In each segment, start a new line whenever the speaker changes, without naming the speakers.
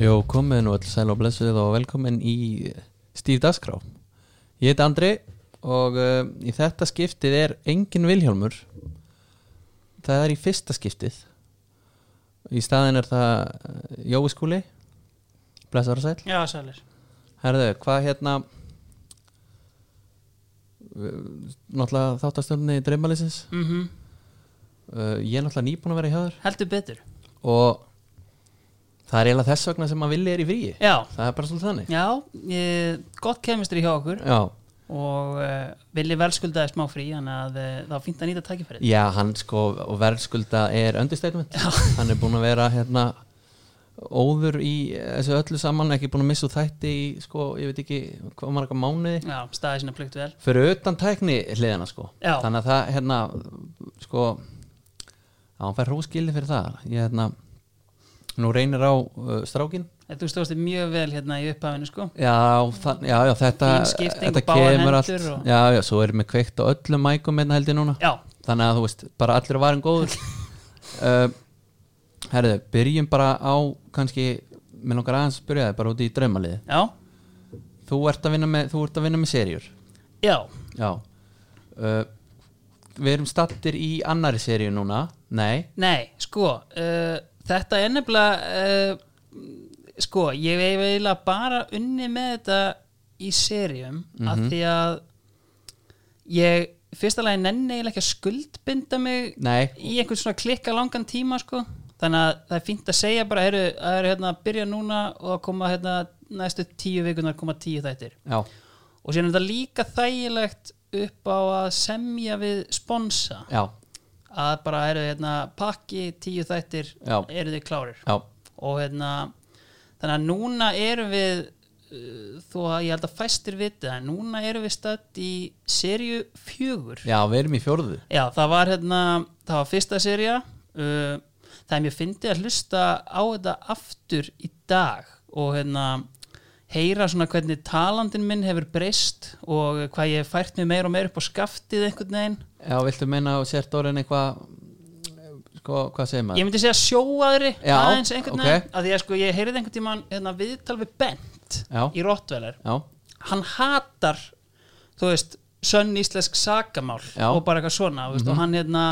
Jó, komið nú alls sæl og blessuð og velkomin í Stíf Daskrá Ég heiti Andri og uh, í þetta skiptið er engin Vilhjálmur Það er í fyrsta skiptið Í staðin er það eh, Jói skúli Blessar og sæl
Já, sælir
Herðu, hvað hérna uh, Náttúrulega þáttastjórni draumalýsins
mm
uh, Ég er náttúrulega nýbúin að vera í höður
Heldur betur
Og það er eiginlega þess vegna sem að villi er í fríi
Já,
Það er bara svolítið þannig
já e, gott kemistri hjá okkur
Já,
og e, villi velskuldaði smá frí þannig að e, það var fínt að nýta tækifærið
já, hann sko og verðskulda er understatement hann er búin að vera hérna óður í þessu öllu saman ekki búin að missa úr þætti í sko, ég veit ekki hvað marga mánuði
Já, staði sinna plökt vel
fyrir utan tækni hliðina sko
Já.
þannig að það hérna sko að hann fær hróskili fyrir það ég hérna nú reynir á uh, strákin
En e, Þú stóðst þig mjög vel hérna í upphafinu sko
já, það, já, já, þetta,
Fínskipting
þetta
og báðar hendur
allt
og-
já, já, svo erum við kveikt á öllum mækum hérna held ég núna
Já,
þannig að þú veist, bara allir varum góður uh, herðu, byrjum bara á kannski, með langar aðeins að byrja þig bara út í draumalið,
já,
þú ert að vinna með þú ert að vinna með serjur
já,
já uh, við erum stattir í annari serju núna, nei
nei, sko e, Þetta er nefnilega e, sko, ég hef eiginlega bara unni með þetta í serjum af því að ég, fyrsta lagi nenni eiginlega ekki að skuldbinda mig
nei,
í einhvern svona klikka langan tíma sko. þannig að það er fínt að segja bara heru, að er hérna að byrja núna og að koma hérna næstu tíu vikunar koma tíu þættir
já,
og síðan er þetta líka þægilegt upp á að semja við sponsa
já,
að bara eru hérna pakki tíu þættir
Já.
eru þið klárir
já
og hérna þannig að núna erum við uh, þó að ég held að fæstir viti það en núna erum við stætt í serju fjögur
já, við erum í fjórðu
Já, það var hérna, það var fyrsta serja uh, það er mjög fyndið að hlusta á þetta aftur í dag og hérna heyra svona hvernig talandin minn hefur breyst og hvað ég hef fært mig meir og meir upp á skaftið einhvern veginn
já, viltu meina og sért orðin eitthvað sko, hvað segir maður?
ég myndi segja sjóaðri
Já,
aðeins einhvern
ok.
veginn að því að sko ég heyrið einhvern tímann hérna, viðtal við Bent
Já.
í Rottvelar
já,
hann hatar þú veist, sönn íslensk sakamál
Já. Mhm.
og bara eitthvað svona þú veist, og hann hérna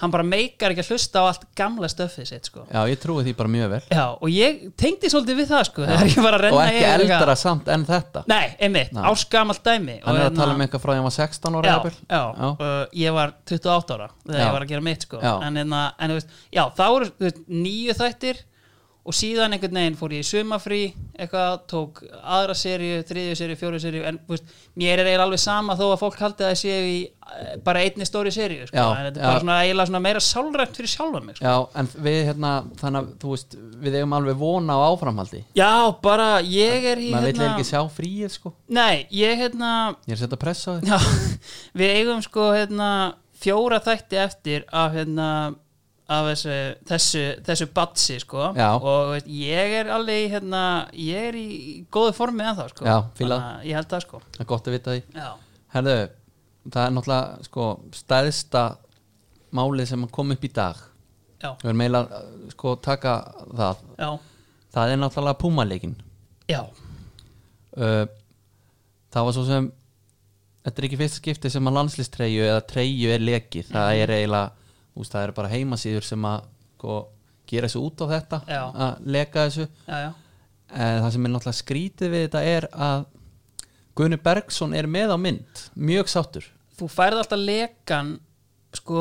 hann bara meikar ekki að hlusta á allt gamla stöfið sitt sko.
já, ég trúi því bara mjög vel
já, og ég tengdi svolítið við það sko, þegar ég var að renna
og ekki
yfir eitthvað-
eldara samt en þetta
nei, einmitt,
Nei.
árskamalt dæmi
hann er að tala um eitthvað frá því að hann var 16 ára
hérna- já,
jafnvel.
já,
já.
Uh, ég var 28 ára þegar
Já.
ég var að gera mitt sko.
Já.
en, en, en þú veist, já, þá eru þú veist, nýju þættir og síðan einhvern veginn fór ég í sumafrí eitthvað, tók aðra seríu þriðju seríu, fjóru seríu en þú veist, mér er eiginlega alveg sama þó að fólk haldi að það séu í eh, bara einni stóri seríu sko.
Já,
en þetta
já.
er bara svona, eiginlega svona meira sálrænt fyrir sjálfa mig sko.
Já, en við hérna, þannig að þú veist við eigum alveg vona á áframhaldi
já, bara ég er í hérna-
maður vill ekki sjá fríið sko
nei, ég hérna
ég er að setja press á þig
Já, við eigum sko hérna, fjóra þætti eftir af, hérna, af þessu, þessu, þessu batsi sko
Já.
og veist, ég er alveg í, hérna, ég er í góðu formi ennþá sko
Já, fílað.
Þannig að ég held það sko
það er gott að vita því
Já,
Herðu, það er náttúrulega sko stæðsta málið sem kom upp í dag
já,
við erum eiginlega uh, sko taka það
já,
það er náttúrulega púmaleikin
já,
uh, það var svo sem þetta er ekki fyrsta skipti sem að landslistreyju eða treyju er lekið það er eiginlega, úst, það er bara heimasýður sem að sko, gera þessu út á þetta
Já.
að leka þessu
já, já.
en það sem er náttúrulega skrítið við þetta er að Gunni Bergson er með á mynd mjög sáttur
þú færið alltaf lekan sko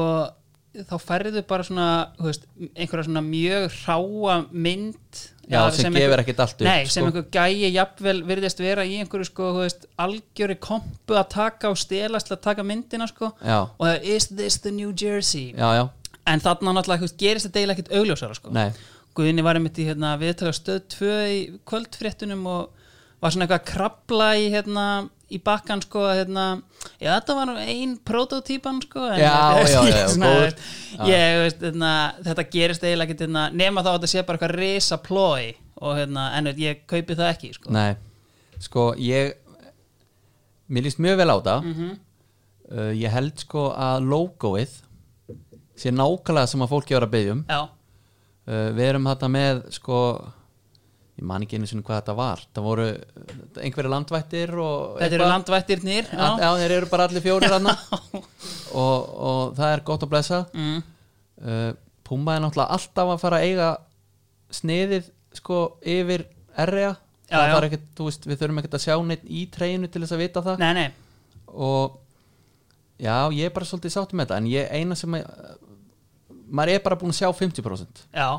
þá færðu bara svona þú veist, einhverja svona mjög hráa mynd
Já,
eða
sem gefur ekkert allt upp,
nei,
sko.
sem einhver gæi jafnvel virðist vera í einhverju sko, þú veist, algjöri kompu að taka og stelast til að taka myndina sko
Já.
og það er, is this the New Jersey
já, já,
en þarna náttúrulega þú veist, gerist þetta eiginlega ekkert augljósara sko
nei,
Guðinni var einmitt í hérna, viðtölu á stöð 2 í kvöldfréttunum og var svona eitthvað að krabla í, hérna, í bakkan sko, að, hérna, já þetta var nú ein prototýpan sko, en,
Já, já, já,
svona,
góður.
veist, ég, veist, hérna, þetta gerist eiginlega ekki hérna, nema þá að þetta sé bara eitthvað risa plói og hérna, en veit, ég kaupi það ekki sko.
nei sko ég mér líst mjög vel á það uh, ég held sko að logoið sé nákvæmlega sem að fólki var að byggja um
já,
uh, við erum þetta með sko ég man ekki einu sinni hvað þetta var það voru eh, einhverjir landvættir og
Þetta eru landvættirnir
já.
já.
já, þeir eru bara allir fjórir hann og, og það er gott að blessa
Mm.
uh, Pumba er náttúrulega alltaf að fara að eiga sniðið sko yfir erja
Já,
það
já.
þarf ekkert, þú veist, við þurfum ekkert að sjá neitt í treyinu til þess að vita það
Nei, nei,
og já, ég er bara svolítið sátt með þetta en ég eina sem að, maður er bara búin að sjá 50%
já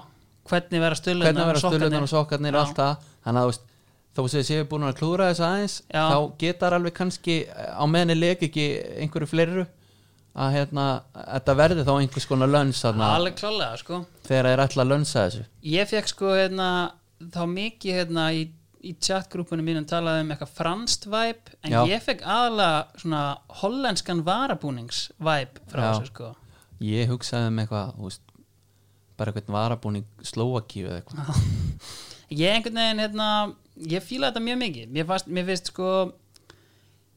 Hvernig vera stölunar
hvernig vera stöluðnar og sokkarnir
Já.
allt það, þannig að þú veist þó sem séu búin að klúra þess aðeins
Já.
þá getar alveg kannski á meðinni leik ekki einhverju fleiru að hérna, þetta verði þá einhvers konar löns þarna,
Alveg klálega, sko
þegar þeir ætla að lönsa þessu
Ég fekk sko hérna, þá mikið hérna, í, í chatgrúpunum mínum talaði um eitthvað franst væp en
Já.
ég fekk aðalega svona hollenskan varabúnings væp frá
Já.
þessu sko
Ég hugsaði um eitthvað þú veist, bara eitthvað varabúning Slovakíu eða eitthvað
Ég einhvern veginn, hérna, ég fíla þetta mjög mikið Mér, fast, mér finnst sko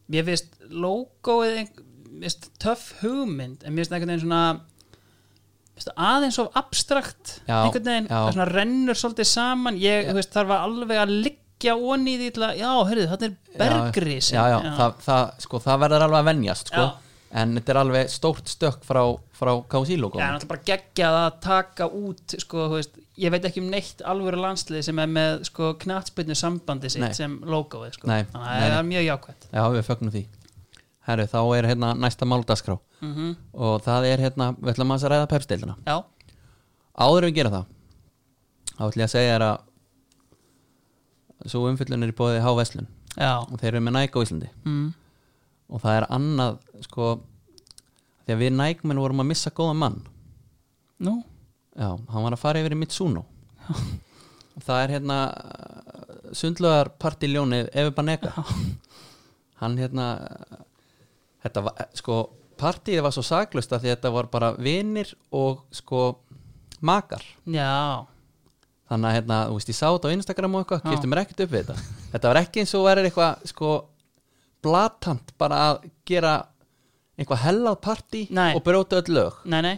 mér finnst logoið ein- mér finnst töff hugmynd en mér finnst einhvern veginn svona mér finnst það aðeins of abstrakt
Já,
einhvern veginn,
já.
það svona rennur svolítið saman ég, þú veist, þarf að alveg að liggja onni í því til að, já, hörðu, þetta er bergrís
Já, já, Það, það, sko, það verður alveg að venjast sko.
Já.
en þetta er alveg stórt stökk frá, frá KC logo
Já, en alltaf bara geggjað að taka út sko, þú veist, ég veit ekki um neitt alvöru landslið sem er með sko, knatsbyrnu sambandi sitt
Nei.
sem logoið sko.
Nei,
þannig
nei,
að
nei.
það er mjög jákvæmt
Já, við fögnum því Herru, þá er hérna næsta máldagskrá
mm
og það er hérna, við ætlum aðeins að ræða pepstildina
Já,
Áður en við gera það þá ætlum ég að segja þér að svo umfyllun er í bóðið Há Veslun
já
og þeir eru með Nike á Íslandi
mm.
og það er annað sko, því að við Nike-menn vorum að missa góða mann
Nú,
Já, hann var að fara yfir í Mitsuno og það er hérna sundlöðar partiljónið Efi Baneka hann hérna þetta var, sko, partíið var svo saklust að því að þetta var bara vinir og sko, makar
já
þannig að hérna, þú veist, ég sá þetta á Instagram og eitthvað,
Já.
kipti mér ekkert upp við þetta þetta var ekki eins og verið eitthvað, sko blatant bara að gera eitthvað hellað partí
Nei.
og bróta öll lög
Nei, nei,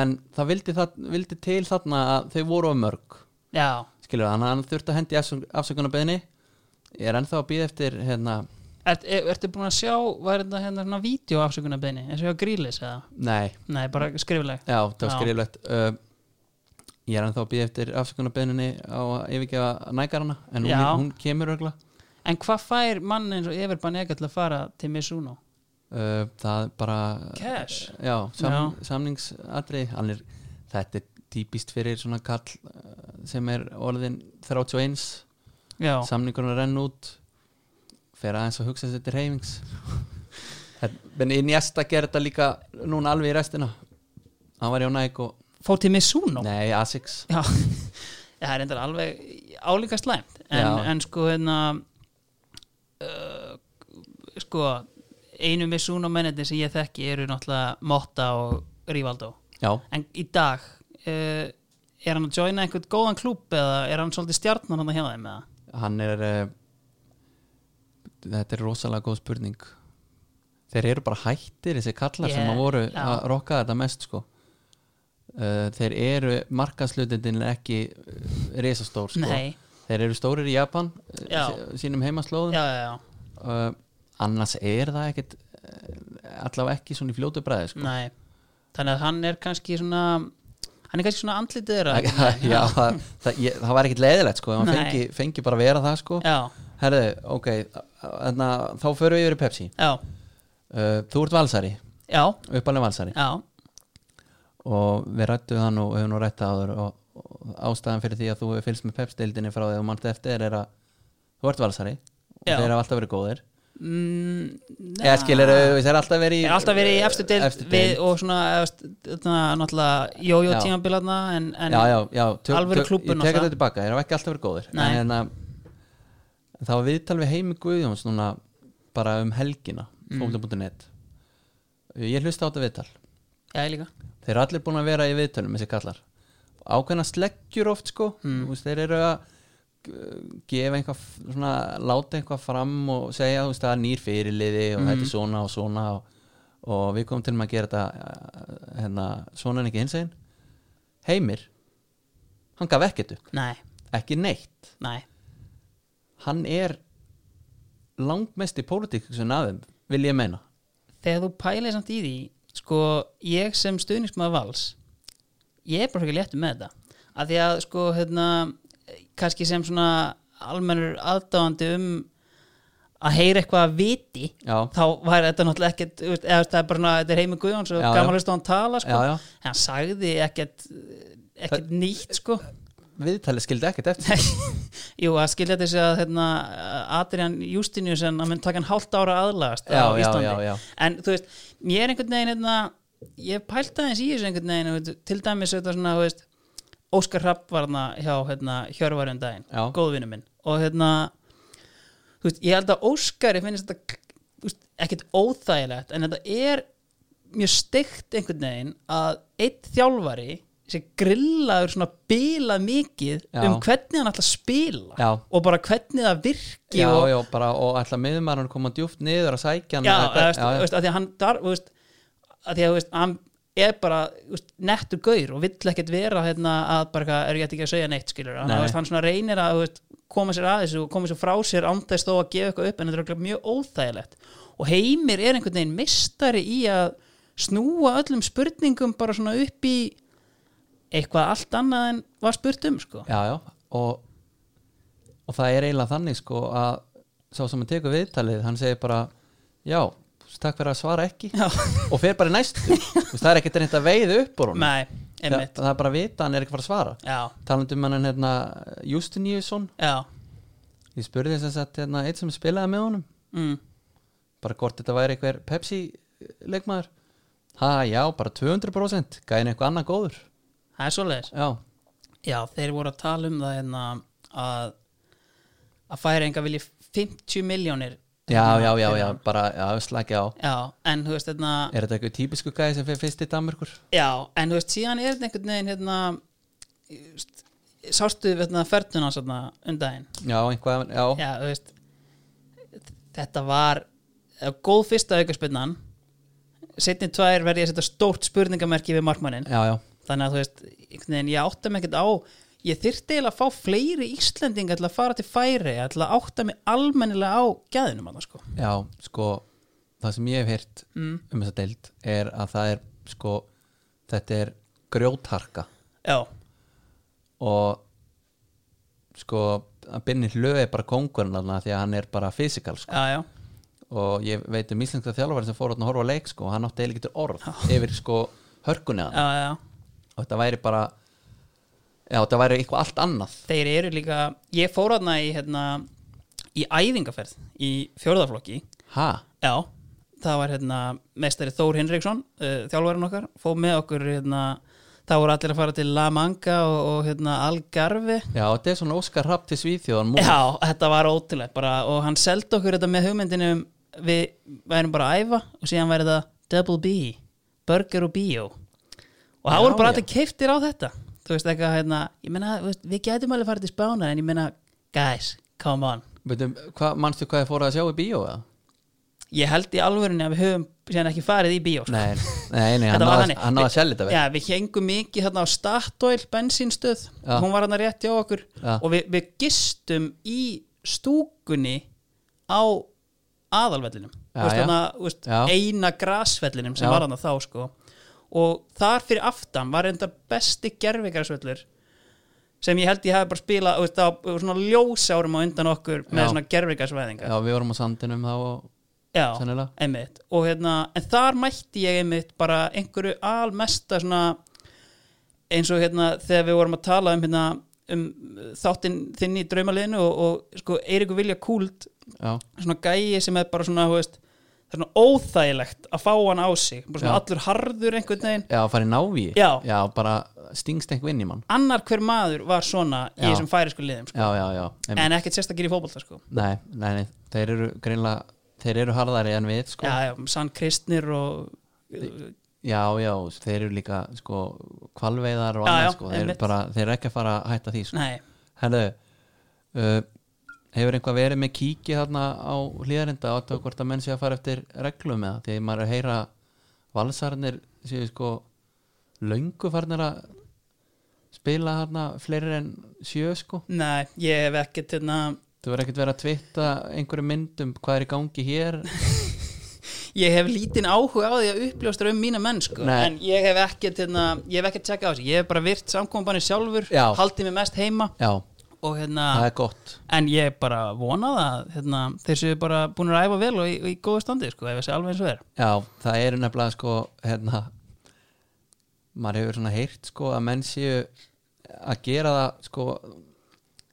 en það vildi, það vildi til þarna að þau voru of mörg
já
skilur það, hann þurfti að hendi afsökunarbeðinni ég er ennþá að býða eftir hérna,
er, er, e, Ertu búin að sjá, var þetta hérna svona vídeo afsökunarbeini, eins og hjá grílis eða?
nei,
Nei, bara skrifleg
já, það var
Já.
skriflegt uh, ég er ennþá að býða eftir afsökunarbeðinni á að yfirgefa nægarana en hún,
Já.
hún kemur örgla
En hvað fær mann eins og yfir Banega til að fara til Mizuno?
uh, það er bara
Cash?
já, sam, samningsatri hann er, þetta er típist fyrir svona kall eh, sem er orðin 31
Já,
samningurinn renn út fer aðeins að hugsa sér til reyfings en Iniesta gerði þetta líka núna alveg í restina hann var hjá Nike og
fór til Mizuno?
nei, Asics
Já, það er endar alveg álíka slæmt en,
Já.
en sko hérna uh, sko einu með Suno mennendin sem ég þekki eru náttúrulega Motta og Rívaldo
já,
en í dag uh, er hann að joina einhvern góðan klúb eða er hann svolítið stjarnan hann að hjá þeim eða?
hann er uh, þetta er rosalega góð spurning þeir eru bara hættir þessi kallar sem
Yeah,
að voru
já.
að rokka þetta mest sko uh, þeir eru markaslutindin ekki eh, risastór sko
Nei,
þeir eru stórir í Japan eh,
Já.
sí- sínum heimaslóðum
já, já, já,
uh, annars er það ekkit uh, allavega ekki svona í fljótu bræði sko.
nei þannig að hann er kannski svona hann er kannski svona andlitið þeirra
já, það, það, ég, það var ekkit leiðilegt sko, ef hann
Nei.
fengi, fengi bara að vera það sko.
Já,
herðu, ok þarna, þá förum við yfir í Pepsi
já,
uh, þú ert valsari,
já,
uppalega valsari
já
og við rættum þann og höfum nú rættað áður og, og ástæðan fyrir því að þú hefur fylgst með Pepsi-deildinni frá því að mann eftir er að þú ert valsari og
Já.
þeir hafa alltaf verið góðir
mm,
eða skilur, þeir hafa alltaf verið í-
Ég er alltaf verið í efstu deild
efstu
við,
deild.
og svona efst, þarna, náttúrulega jójó
Já.
tímabilarna en, en
já, já, já,
alvöru klúbbur
ég tek
náttúrulega.
þetta tilbaka, þeir hafa ekki alltaf verið góðir
Nei.
en hérna það var viðtal við Heimi Guðjóns núna bara um helgina mm. fólkdum.net ég hlusta á þetta viðtal
já, ég líka
þeir eru allir búin að vera í viðtölum þessi kallar ákveðna sleggjur oft sko mm. veist, þeir eru að uh, gefa einhvað svona, láta einhvað fram og segja þú veist, það er nýr fyrirliði og þetta er svona og svona og, og við komum til með að gera þetta uh, hérna, svona en ekki hins einn Heimir hann gaf ekkert upp
Nei,
ekki neitt
nei,
hann er langmest í pólitík sem aðeim, vil ég meina
þegar þú pælið samt í því sko, ég sem stuðningsmaður vals ég er bara fyrir léttum með þetta að því að sko, hérna kannski sem svona almennur aðdáandi um að heyra eitthvað að viti
Já.
þá var þetta náttúrulega ekkert þú veist, eða þú veist, það er bara svona, þetta er heimi Guðjóns og
Já, já.
gaman hlust á hann tala sko.
Já, já.
En hann sagði ekkert ekkert nýtt sko
viðtalið skildi ekkert eftir
Jú, að skilja þessi að hérna, Adrian Justiniusen að mun taka hann hálft ára aðlagast
Já,
á
já,
Íslandi
já, já.
en þú veist, ég er einhvern veginn hérna, ég pælt aðeins í þessu einhvern veginn þú veist, til dæmis þetta svona, þú veist Óskar Rapp var hana hjá hérna, Hjörvarjum daginn,
Já.
góðvinu minn og hérna, þú veist, ég held að Óskari finnist þetta þú veist, ekkert óþægilegt, en þetta er mjög steikt einhvern veginn að einn þjálfari sem grillaður svona bilað mikið
Já.
um hvernig hann ætla að spila
Já.
og bara hvernig það virki
já,
og,
já, bara, og alltaf miðumarinn koma djúpt niður að sækja hann
já,
eða
eða,
hvað-
veist,
já, já.
Veist, að því að hann dar, veist, að því að veist, hann er bara veist, nettur gaur og vill ekkert vera hérna, að bara eitthvað, er ég ætti ekki að segja neitt skilur hann,
Nei.
veist, hann svona reynir að veist, koma sér að þessu og koma sér frá sér andæst þó að gefa eitthvað upp en þetta er örugglega mjög óþægilegt og heimir er einhvern veginn mistari í að snúa öllum spurningum bara svona upp í eitthvað allt annað en var spurt um sko.
já, já, og og það er eiginlega þannig sko að sá sem hann tekur viðtalið, hann segir bara já, takk fyrir að svara ekki
Já.
og fer bara í næstu Þú veist, það er ekkert reynd að veiða upp úr honum
Nei,
það,
einmitt
það er bara að vita að hann er ekki að fara að svara
Já,
talandi um hann hérna Justiniusson
já,
ég spurði þess að hérna, eitt sem spilaði með honum
mm,
bara hvort þetta væri einhver Pepsi leikmaður ha já, bara 200% gæðin eitthvað annað góður
það er svoleiðis
já,
Já, þeir voru að tala um það hérna að að færa enga vilji 50 miljónir
já, já, já, já bara já, slagi á
Já, en þú veist hérna
er þetta eitthvað típisku gæði sem fyrir fyrst í Danmörkur
Já, en þú veist síðan er þetta einhvern veginn hérna þú veist, sástu hérna ferðuna svona undaginn
já, einhvað, já,
Já, þú veist þetta var eh, góð fyrsta aukarspennan setni tvær verði ég að setja stórt spurningamerki við markmannin
já, já,
þannig að þú veist, einhvern veginn, ég átta mig ekkert á ég þyrfti eiginlega að fá fleiri Íslendinga til að fara til færi, til að átta mig almennilega á gæðinum annars sko
já sko, það sem ég hef heyrt
mm.
um þessa deild er að það er sko, þetta er grjótharka
já,
og sko að Binni Hlöð er bara kongurinn þarna því að hann er bara fysikal sko.
já, já,
og ég veit um íslenska þjálfari sem fór þarna að horfa á leik sko, og hann átti eiginlega getur orð yfir sko hörkunni hann
já, já
og þetta væri bara já, þetta væri eitthvað allt annað
þeir eru líka, ég fór hana í hérna, í æfingaferð í fjórðaflokki,
ha,
já það var hérna meistari Þór Hinriksson uh, þjálfarinn okkar, fóð með okkur hérna, það voru allir að fara til La Manga og, og hérna Algarve
já, þetta er svona Óskar Rapp til Svíþjóðan múl.
Já, þetta var ótrúlega bara og hann seldi okkur þetta með hugmyndinu um við værum bara að æfa og síðan væri þetta Double B, Burger og Bio og það
Já,
voru bara
já.
allir keiftir á þetta þú veist eitthvað hérna, ég meina þú veist, við gætum alveg farið til Spána en ég meina guys, come on
Veitum, hva, manstu hvað þið fóruð að sjá í bíó eða?
ég held í alvörunni að við höfum síðan ekki farið í Bio sko.
Nei, nei, nei hann
Þetta var
náði
þannig.
að, náð að selja þetta vel.
Já, við hengum mikið hérna á Statoil bensínstöð,
Já.
hún var hérna rétt hjá okkur
Já.
og við, við gistum í stúkunni á aðalvellinum
Já,
Þú veist,
já.
þarna, þú veist,
Já.
eina grasvellinum sem
Já.
var hérna þá sko. og þar fyrir aftan var enda besti gerfigrasvellur sem ég held ég hafi bara spilað þú veist, á, svona ljósárum á undan okkur með
Já.
svona gerfigrasvæðinga
já, við vorum á sandinum þá og,
Já,
Sennilega.
einmitt og hérna, en þar mætti ég einmitt bara einhverju almesta svona eins og hérna þegar við vorum að tala um hérna um þáttinn þinn í draumaliðinu og, og sko Eiríku Vilja Kúld
já,
svona gæi sem er bara svona, þú veist það er svona óþægilegt að fá hann á sig bara svona
Já.
allur harður einhvern veginn
já, farið návi
Já.
já, bara stingst einhver inn í mann
annar hver maður var svona í
Já.
þessum færisku liðum sko.
já, já, já, einmitt.
en ekkert sérstakir í fótbolta sko.
Nei, nei, nei, þeir eru greinlega þeir eru harðari en við sko.
já, já, sann kristnir og uh, já,
já, já, þeir eru líka sko, kvalveiðar og
Já,
annað
já,
sko. þeir, eru
einmitt.
bara, þeir eru ekki að fara að hætta því sko.
nei,
Herðu uh, hefur einhvað verið með kíki þarna á hlýðarinda áttu hvort að menn sé að fara eftir reglum eða því að maður er að heyra valsarnir séu sko löngu farnir að spila þarna fleiri en sjö sko
nei, ég hef ekkert hérna
Þú verður ekkert verið að tvitta einhverju myndum hvað er í gangi hér
ég hef lítinn áhuga á því að uppljóstra um mína menn sko.
Nei.
en ég hef ekkert hérna, ég hef ekkert tjekkað á þessu, ég hef bara virt samkombanir sjálfur
Já.
haldið mig mest heima
Já,
og hérna,
það er gott
en ég bara vona það hérna, þeir séu bara búin að æfa vel og í, og í góðu standi, sko, ef þessi alveg eins og er
Já, það er nefnilega sko hérna maður hefur svona heyrt sko að menn séu að gera það sko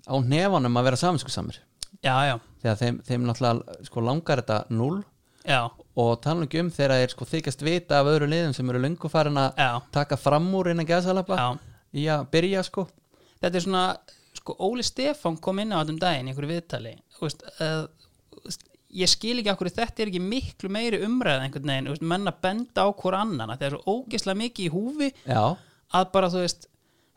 á nefanum að vera saminskusamir
já, já,
þegar þeim, þeim náttúrulega sko langar þetta null
já,
og tala nú ekki um þegar þeir sko þykjast vita af öðru liðum sem eru löngu farin að
já,
taka fram úr innan gæðsalapa
já
í að byrja sko
þetta er svona sko, Óli Stefán kom inn á þetta um daginn í einhverju viðtali þú veist, að, þú veist, ég skil ekki okkur þetta er ekki miklu meiri umræð einhvern veginn, þú veist, menn að benda á hvor annan að það er svo ógeðslega mikið í húfi
Já,
að bara þú veist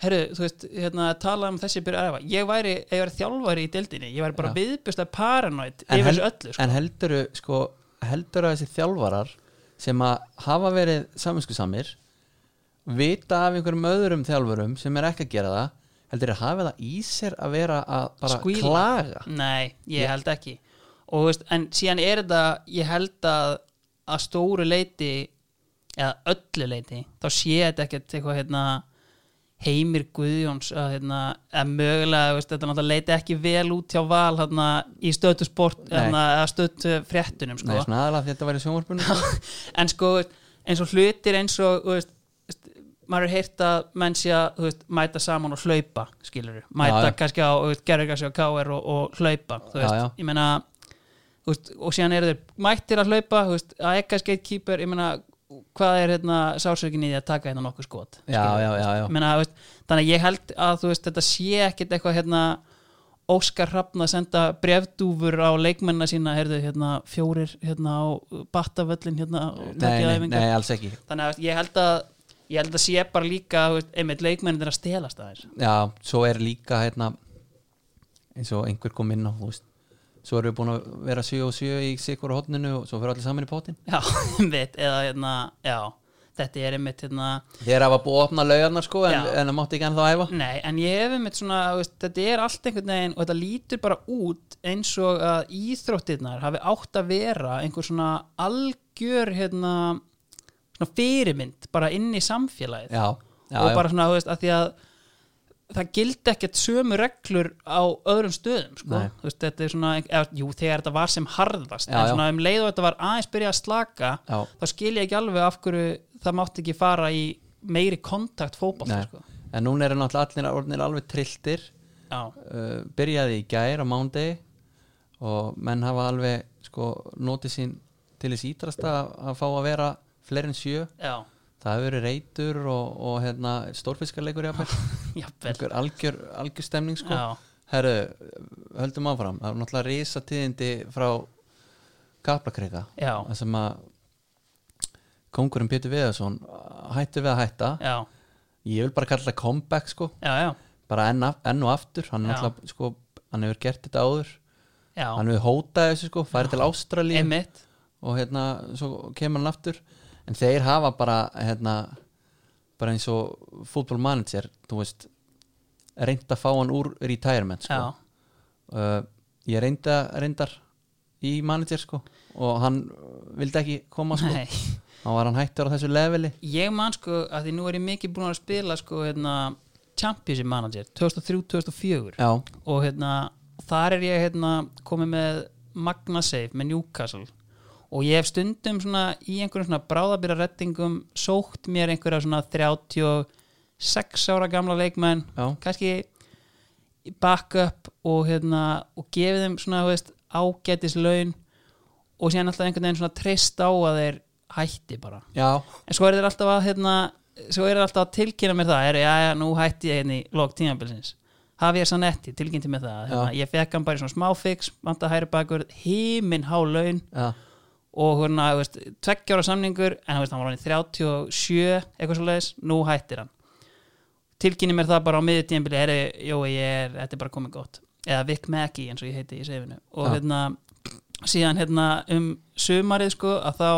herru, þú veist, hérna, tala um þessi byrja að æfa ég væri, ef ég væri þjálfari í deildinni ég væri bara
Já.
viðbjösta paranoid
En
yfir
hel-
þessu öllu, sko.
en heldur sko, heldur að þessi þjálfarar sem að hafa verið saminskusamir vita af einhverjum öðrum þjálfurum sem er ekki að gera það heldur að hafa það í sér að vera að bara
Squeal.
klaga
nei, ég held ekki og þú veist, en síðan er þetta ég held að að stóru leiti eða öllu leiti þá sé þetta ekkert eitthvað hérna Heimir Guðjóns að, hérna, að mögulega, þú veist, þetta náttúrulega leiti ekki vel út hjá val hérna, í stötu sport,
Nei.
hérna, eða stötu fréttunum sko.
Nei, svona aðalega því að þetta var í sjónvarpunum
en sko eins og hlutir eins og þú veist, veist, maður er heyrt að menn sé að þú veist, mæta saman og hlaupa skilur mæta
Já, já.
kannski á gerðurkassi og káir og, og hlaupa þú
Já,
veist,
já.
ég meina þú veist, og síðan eru þeir mættir að hlaupa þú veist, að ekka skeittkýpur, ég meina hvað er hérna sásökin í því að taka hérna nokkuð skot
Já,
skilurðu?
já, já, já.
Ég meina, þú veist, þannig að ég held að þú veist, þetta sé ekkit eitthvað hérna Óskar Hrafn að senda brefdúfur á leikmennina sína heyrðu, hérna, fjórir hérna, á battavöllin hérna, og
nei,
takið
nei,
æfingar.
nei, alls ekki
þannig að þú veist, ég held að ég held að sé bara líka þú veist, einmitt leikmennin er að stelast aðeins
Já, svo er líka hérna eins og einhver kom inn á þú veist svo erum við búin að vera 7 og 7 í sikur hotninu og svo fyrir allir saman í potin
já, einmitt, eða hérna, já, þetta er einmitt hérna,
Þeir hafa búið að opna laugarnar sko en,
Já.
en það mátti ekki ennþá æfa
Nei, en ég hef einmitt svona, þú veist, þetta er allt einhvern veginn og þetta lítur bara út eins og að íþróttirnar hafi átt að vera einhver svona algjör hérna, svona fyrirmynd bara inn í samfélagið
Já, já,
og
já.
bara svona, þú veist, að því að það gildi ekkert sömu reglur á öðrum stöðum, sko
Nei.
Þú veist, þetta er svona, eða, jú, þegar þetta var sem
Já,
harðast en
já.
svona um leið og þetta var aðeins byrja að slaka
Já.
þá skil ég ekki alveg af hverju það mátti ekki fara í meiri kontakt fótbolta,
Nei.
sko
En núna eru náttúrulega allir orðnir alveg trilltir
Já.
uh, Byrjaði í gær á mándegi og menn hafa alveg sko notið sín til þess ítrasta að, að fá að vera fleiri en sjö
Já,
Það hefur verið reytur og, og hérna, stórfiskarleikur jafnvel
jafnvel
Einhver algjör, algjör stemning sko
Já,
Herru, höldum áfram Það er náttúrulega risa tíðindi frá Kaplakreika
já,
þar sem að kongurinn Pétur Viðarsson hættu við að hætta
já,
ég vil bara kalla þetta comeback sko
já, já,
bara enn, af, enn og aftur hann, er
Já.
náttúrulega, sko, hann hefur gert þetta áður
já,
hann hefur hótað þessu sko, farið til Ástralíu
einmitt
og hérna, svo kemur hann aftur en þeir hafa bara hérna, bara eins og football manager, þú veist reynd að fá hann úr retirement sko.
Já,
uh, ég reynda reyndar í manager sko og hann uh, vildi ekki koma sko
nei
hann var hann hættur á þessu leveli
Ég man sko að því nú er ég mikið búin að spila sko hérna Championship Manager 2003-2004
já,
og hérna þar er ég hérna komið með Magnasafe með Newcastle og ég hef stundum svona í einhverjum svona bráðabýra rettingum sókt mér einhverja svona 36 ára gamla leikmenn
já,
kannski backup og, hérna, og gefið þeim svona þú veist, ágætis laun og síðan alltaf einhvern veginn svona treyst á að þeir hætti bara
já,
en svo er þeir alltaf að hérna, svo er þeir alltaf að tilkynna mér það er, já, já, nú hætti ég hérna í log tímabilsins hafi ég sann etti, tilkynnti mér það hérna, ég fekk hann bara í svona smáfix vant að hæri bakur, hímin há laun
já,
og hérna, þú veist, tveggjára samningur en þú veist, hann var hann í 37 eitthvað svo leiðis, nú hættir hann tilkynni mér það bara á miður tíðanbili herri, jó, ég er, þetta er bara komið gott eða Vic Mackey, eins og ég heiti í seifinu og
Já.
hérna, síðan hérna um sumarið, sko, að þá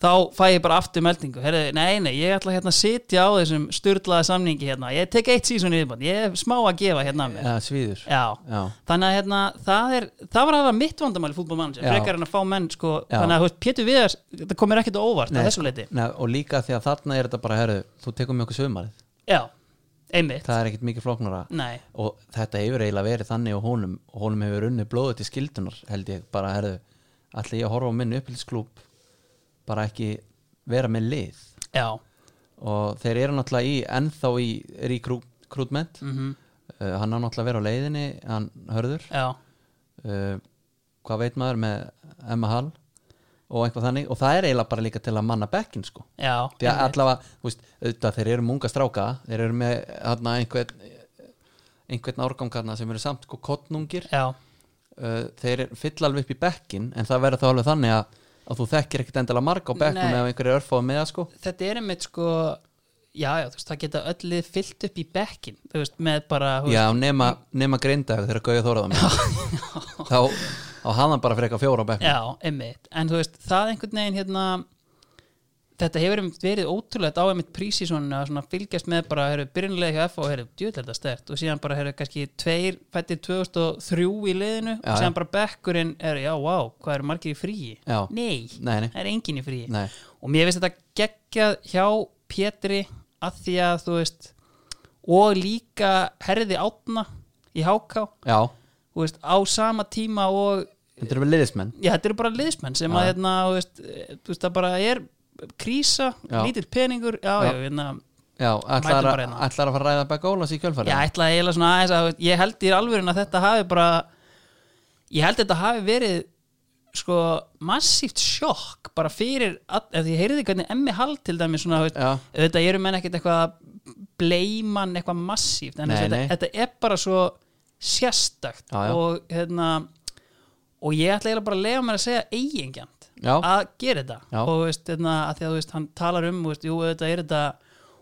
þá fæ ég bara aftur meldingu Herri, nei, nei, ég ætla hérna að sitja á þessum styrlaða samningi hérna, ég tek eitt sísun yfirbænd, ég er smá að gefa hérna af mér
ja, svíður
Já,
Já.
þannig að hérna, það, er, það var aðra mitt vandamáli fútbolmanager,
Já.
frekar en að fá menn sko,
Já.
þannig að þú veist, Pétur Viðars þetta komir ekkert á óvart
Nei, sko.
að þessu leiti
Nei, og líka því að þarna er þetta bara herðu, þú tekur mjög okkur sömarið
Já, einmitt
það er ekkit mikið flóknara
Nei,
og þetta hefur eiginlega verið þannig og honum og honum hefur unnið blóðu til skildunar held ég bara herðu, ætla ég að horfa á minn upphilsklúb bara ekki vera með lið
já,
og þeir eru náttúrulega í ennþá í recruitment
mm
uh, hann á náttúrulega að vera á leiðinni hann hörður
já
uh, hvað veit maður með Emma Hall og eitthvað þannig og það er eiginlega bara líka til að manna bekkin sko
Já,
því að allavega, þú veist, auðvitað þeir eru munga stráka þeir eru með hana, einhvern einhvern árgang hana sem eru samt sko kottnungir
já,
uh, þeir eru- fylla alveg upp í bekkin en það verður þá alveg þannig að, að þú þekkir ekkert endilega marga á bekknum
Nei.
eða einhverju örfáð með það sko
þetta er einmitt sko Já, já, þú veist, það geta öll lið fyllt upp í bekkin, þú veist, með bara þú
Já, nema, nema grindag þegar Gauja Þóraðum þá á hann bara fyrir eitthvað fjóra á bekknum
Já, einmitt, en þú veist, það einhvern veginn hérna, þetta hefur einmitt verið ótrúlega á einmitt prísi svona, svona fylgjast með bara, heyrðu, byrjunlega hjá F og heyrðu, djúðlega stert og síðan bara, heyrðu, kannski tveir fættir 2003 í liðinu
Já,
og
já.
síðan bara bekkurinn, heyrðu, já, vá, hvað eru margir í fríi?
Já.
Nei,
Nei, nei.
það er engin í fríi
Nei,
og mér finnst þetta geggjað hjá Pétri að því að, þú veist, og líka herði átna í háká,
já,
þú veist, á sama tíma og
þetta eru við liðismenn
Já, þetta eru bara liðsmenn sem að hérna, þú veist, eh, þú veist, það bara er krísa,
Já.
lítill peningur já, já, hérna,
Já, ætlar,
Mætum
að-
bara hérna.
ætlar að fara að ræða Begga Ólas í kjölfæri
ég ætlaði eiginlega svona aðeins að þú veist, ég held í alvörun að þetta hafi bara ég held þetta hafi verið sko massíft sjokk bara fyrir, all, ef því ég heyrði hvernig emmi hall til dæmi svona, þú veist,
Já.
þetta eru menn ekkert eitthvað að bleima hann eitthvað massíft, en
Nei,
nei, þetta,
nei.
þetta er bara svo sérstakt
Já, já.
og hérna og ég ætla eiginlega bara að lega mér að segja eigingjant
Já.
að gera þetta
Já.
og þú veist, hérna, að því að þú veist, hann talar um þú veist, jú, þetta er þetta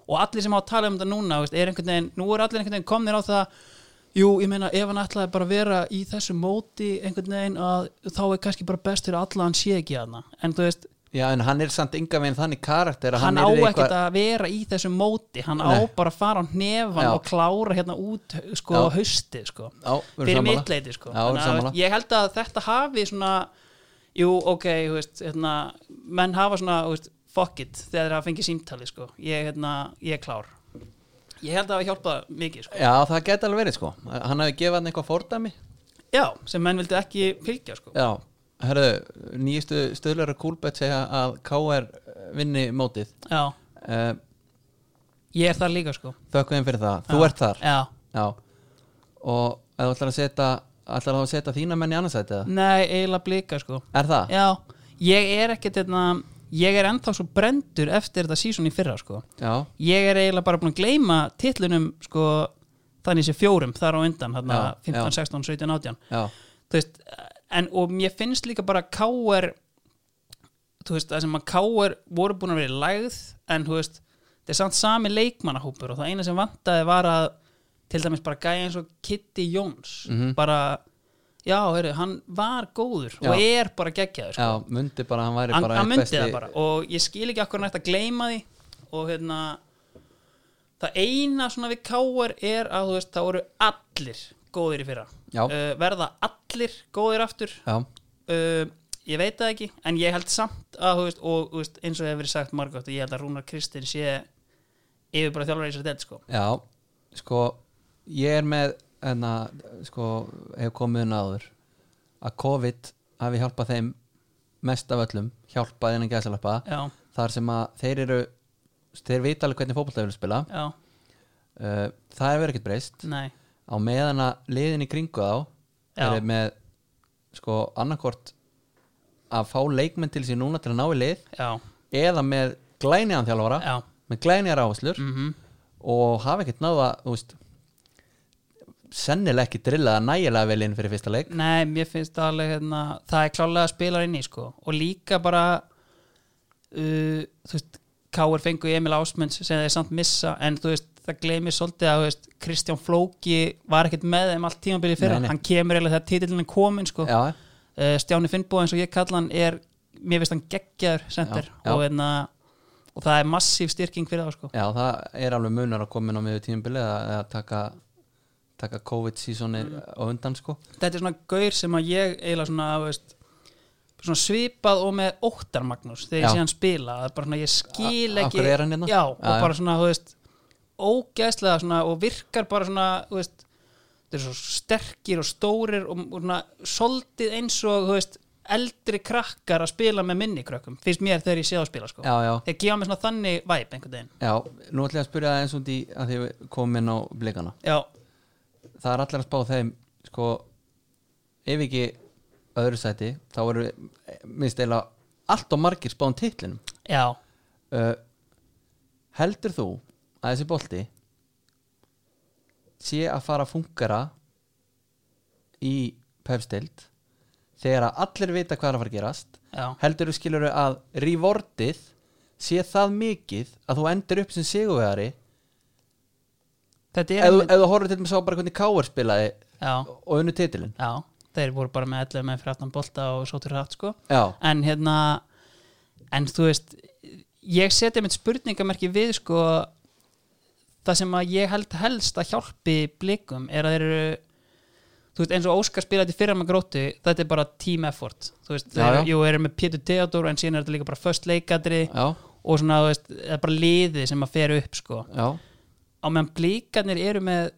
og allir sem á að tala um þetta núna þú veist, er einhvern veginn, nú er allir einhvern veginn komnir á það jú, ég meina, ef hann ætlaði bara að vera í þessu móti einhvern veginn að þá er kannski bara best fyrir alla að hann sé ekki hana en þú veist,
Já, en hann er samt enga veginn þannig karakter að
hann, á
yrði
ekkert að vera í þessu móti hann á
Nei.
bara að fara á hnefan
Já.
og klára hérna út sko,
Já.
haustið sko.
Já, við erum
fyrir
sammála.
mitt leiti sko.
Já, við erum
Þannig að,
sammála.
ég held að þetta hafi svona jú, ok, þú veist, hérna, menn hafa svona þú veist, fuck it þegar það fengið símtali sko. ég, hérna, ég er klár ég held að það hafi hjálpað mikið sko.
Já, það geti alveg verið sko Hann hafi gefað hann eitthvað fordæmi
já, sem menn vildi ekki fylgja sko.
Já, herðu, nýjistu stöðlera kúlbett segja að KR vinni mótið
já,
uh,
ég er þar líka sko.
Þökkum þeim fyrir það, þú ert þar
já,
Já Og ef þú ætlar að setja ætlar þá að setja þína menn í annarsæti eða?
nei, eiginlega blika sko.
Er það?
Já, ég er ekkert hérna, ég er ennþá svo brendur eftir þetta sísón í fyrra sko.
Já,
Ég er eiginlega bara búin að gleyma titlunum sko, þannig sem fjórum þar á undan, þarna
Já,
15,
já.
16, 17, 18
já,
Þú veist, en, og mér finnst líka bara káar þú veist, það sem að káar voru búin að vera lægð en þú veist, þetta er samt sami leikmannahópur og það eina sem vantaði var að til dæmis bara gæja eins og Kitty Jones
Mhm.
bara, já, heyrðu, hann var góður
Já.
og er bara geggjaður sko
já, mundi bara að hann væri
hann,
bara
hann
einn
myndi það bara og ég skil ekki akkur nætt að gleyma því og hérna það eina svona við káar er að þú veist það voru allir góðir í fyrra
Já.
Eh, verða allir góðir aftur
Já,
uh, ég veit það ekki en ég held samt að þú veist, og þú veist, eins og hefur verið sagt margótt ég held að Rúnar Kristinn sé yfir bara þjálfur eins og þetta sko
já, sko ég er með, en að sko, hefur komið inn áður að COVID hafi hjálpað þeim mest af öllum, hjálpað innan gæsalappa,
já,
þar sem að þeir eru, þeir vita alveg hvernig fótbolta vilja spila,
já,
uh, það hefur ekkert breyst
nei
á meðan að liðin í kringu þá
Já.
þeir eru með sko annarkort að fá leikmenn til sér núna til að ná í lið
já,
eða með glæniðan þjálfara
já,
með glænjar áherslur
mhm
og hafa ekkert náða þú veist, sennilega ekki drillað nægilega vel inn fyrir fyrsta leik
Nei, mér finnst það alveg hérna, það er klálega að spila inn í sko og líka bara uh, þú veist, Káur fengu Emil Ásmunds sem þeir samt missa en þú veist, það gleymir svolítið að þú veist, Kristján Flóki var ekkert með þeim allt tímabilið fyrra,
Nei, nei.
hann kemur eiginlega þegar titillin er komin sko,
já,
uh, Stjáni Finnbóð eins og ég kalla hann er mér finnst hann geggjaður center
Já, já.
Og, hérna, og það er massíf styrking fyrir það sko.
Já, það er alveg munar að koma inn á miður tímabili eða, eða taka, taka COVID-sísoni á undan sko
þetta er svona gaur sem að ég eiginlega svona, þú veist, svona svipað og með óttar Magnús þegar
Já.
ég sé hann spila það er bara svona ég skil
A- af
ekki
hverju er hann hérna?
já, og
Já, já.
bara svona, þú veist ógæðslega svona og virkar bara svona, þú veist þeir eru svo sterkir og stórir og, og svona soldið eins og, þú veist eldri krakkar að spila með minni krökkum finnst mér þegar ég sé það að spila sko
Já, já,
þeir gefa mér svona þannig væp einhvern veginn
já, nú ætlum ég að spyrja það eins og því að því við komum inn á blikana
já,
Það er allir að spá þeim sko ef ekki öðru sæti þá eru minnst eila allt og margir spáðum titlinum
já,
uh, Heldur þú að þessi bolti sé að fara að fungara í pefstild þegar að allir vita hvað er að fara að gerast
já
heldur þú skilur að rewardið sé það mikið að þú endur upp sem sigurvegari
þetta er
ef þú-
einmitt-
ef þú horfður til með sá bara hvernig Káar spilaði
já,
og unnu titilin
já, þeir voru bara með 11 með fyrir aftan bolta og svo til rætt sko
já,
en hérna en þú veist ég seti mitt spurningamerki við sko það sem að ég held helst að hjálpi blikum er að þeir eru þú veist eins og Óskar spilaði fyrra með gróttu þetta er bara team effort þú veist,
Já,
þeir,
já.
jú, þeir eru með Pétur Theodor en síðan er þetta líka bara först leikadri
já,
og svona, þú veist, það er bara liði sem að fer upp sko
já
á meðan blíkarnir eru með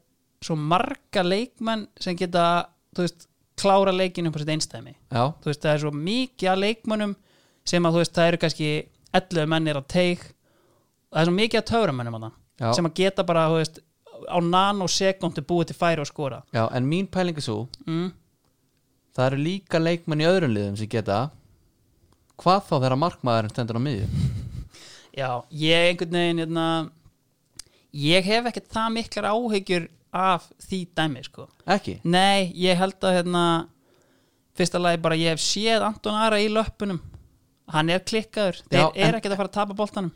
svo marga leikmenn sem geta, þú veist, klára leikinu upp á sitt einstæmi
já,
þú veist, það er svo mikið að leikmönnum sem að þú veist, það eru kannski 11 mennir að teik það er svo mikið að töframönnum að
Já.
það sem að geta bara, þú veist, á nanosekundu búið til færi og skora
já en mín pæling er svo
mm.
það eru líka leikmenn í öðrum liðum sem geta hvað þá þegar markmaðurinn stendur á miðju
já, ég einhvern veginn hérna, ég hef ekkert það miklar áhyggjur af því dæmi, sko
ekki,
nei, ég held að hérna, fyrsta lagi bara ég hef séð Anton Ara í löppunum hann er klikkaður, þeir
Já, en-
er ekkert að fara að tapa boltanum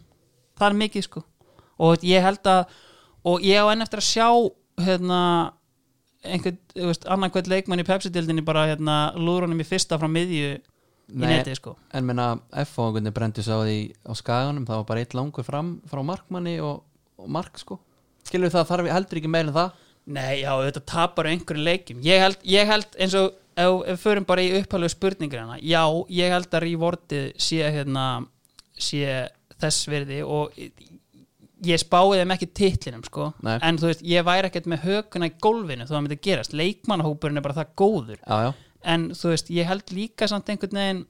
það er mikið sko og ég held að, og ég á enn eftir að sjá hérna einhvern, þú veist, annan hvern leikmann í Pepsi-dildinni bara hérna, lúðrunum í fyrsta frá miðju í
Nei.
neti sko
en menna F-fóðungunni brendi svo á því á skaganum það var bara eitt langur fram frá markmanni og, og mark sko skilur það þarf heldur ekki meira en það
Nei, já, þetta tapar einhverjum leikjum ég held, ég held eins og ef ef við förum bara í upphælu spurningar hana já, ég held að rewardið sé hérna, sé þess verði og ég spáði þeim ekki titlinum sko
Nei.
en þú veist, ég væri ekkert með hökuna í gólfinu þú að myndi gerast, leikmannhópurinn er bara það góður
já, já,
en þú veist, ég held líka samt einhvern veginn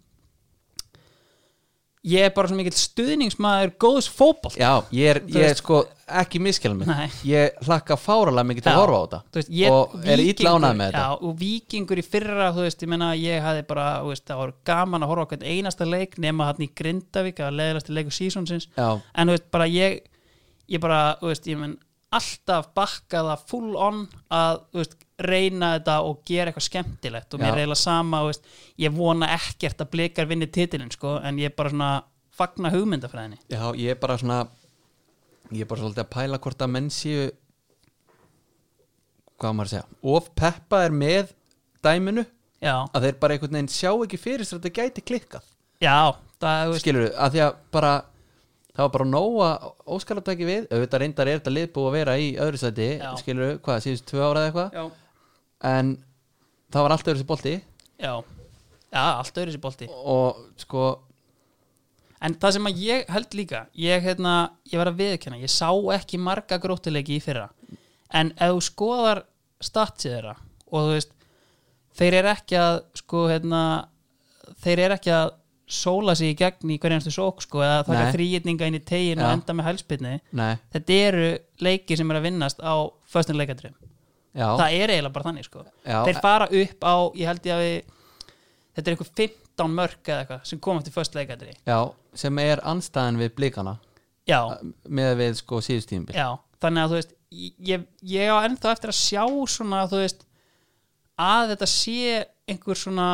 ég er bara svona mikill stuðningsmaður góðs fótbolt
já ég er,
Þú
ég er
veist-
sko ekki miskjálum
Nei.
mig ég hlakka fáralega mikið til að
Já.
horfa á þetta
Þú veist, ég,
og er
Víkingur-
illa ánægð með þetta
já, og vikingur í fyrra þú veist, ég menna ég hafði bara þú veist, það var gaman að horfa okkur einasta leik nema hann í Grindavík að leðilegasti leiku sísonsins
Já.
en þú veist bara ég ég bara, þú veist, ég menn alltaf bakkaða full on að þú veist, reyna þetta og gera eitthvað skemmtilegt og mér
Já.
reyla sama þú veist, ég vona ekkert að blikar vinni titilin sko, en ég bara svona fagna hugmyndafræðinni
Já, ég er bara svona ég er bara svolítið að pæla hvort að menn séu hvað á maður að segja of peppa er með dæminu
já,
að þeir bara einhvern veginn sjá ekki fyrir sér að þetta gæti klikkað
já, það, þú veist,
skilur þau, að því að bara það var bara nóg að Óskar að taki við auðvitað reyndar er þetta liðbú að vera í öðru sæti
Já.
skilur þau, hvað, síðust tvö ára eða eitthvað
já,
en það var allt öðru sér bolti
já já, allt öðru sér bolti
og sko,
En það sem að ég held líka ég, hérna, ég var að viðkjanna, ég sá ekki marga gróttileiki í fyrra en ef þú skoðar statsið þeirra og þú veist þeir eru ekki að sko, hérna, þeir eru ekki að sóla sig í gegn í hverjanstu sók sko, eða taka
Nei.
þrýjitninga inn í tegin og
Já.
enda með hælspinni
nei,
þetta eru leiki sem eru að vinnast á föstum leikadrým
já
það er eiginlega bara þannig sko.
Já.
þeir fara upp á, ég held ég að við þetta er einhver 15 mörk eða eitthvað sem kom eftir föst leikadrý
já, sem er anstæðan við blikana
Já,
með við sko síðust tímbil
Já, þannig að þú veist ég, ég á ennþá eftir að sjá svona þú veist að þetta sé einhver svona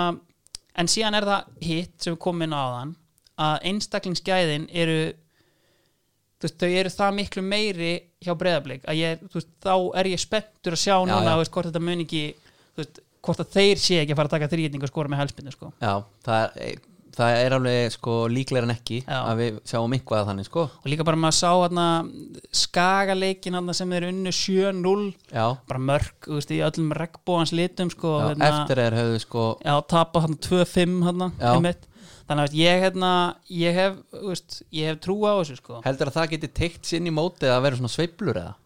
en síðan er það hitt sem við komum inn á þann að einstaklingsgæðin eru þú veist, þau eru það miklu meiri hjá breyðablík að ég, þú veist, þá er ég spenntur að sjá núna,
já.
þú veist, hvort þetta mun ekki þú veist, hvort að þeir sé ekki að fara að taka þrýðning og skora með hælspindu, sko
Já, það er, eh, það er alveg sko líklega en ekki
Já.
að við sjáum eitthvað að þannig sko
og líka bara maður sá hana, skagaleikin hana sem er unnu 7-0
já,
bara mörg, þú veist, í öllum regnbóans litum sko,
já
hérna-
eftir er höfðu sko
já, tapa hann 2-5 hann
Já.
einmitt þannig að veist, ég, hérna, ég hef þú veist, ég hef trú á þessu sko
heldur að það geti teikt sinn í mótið að vera svona sveiflur eða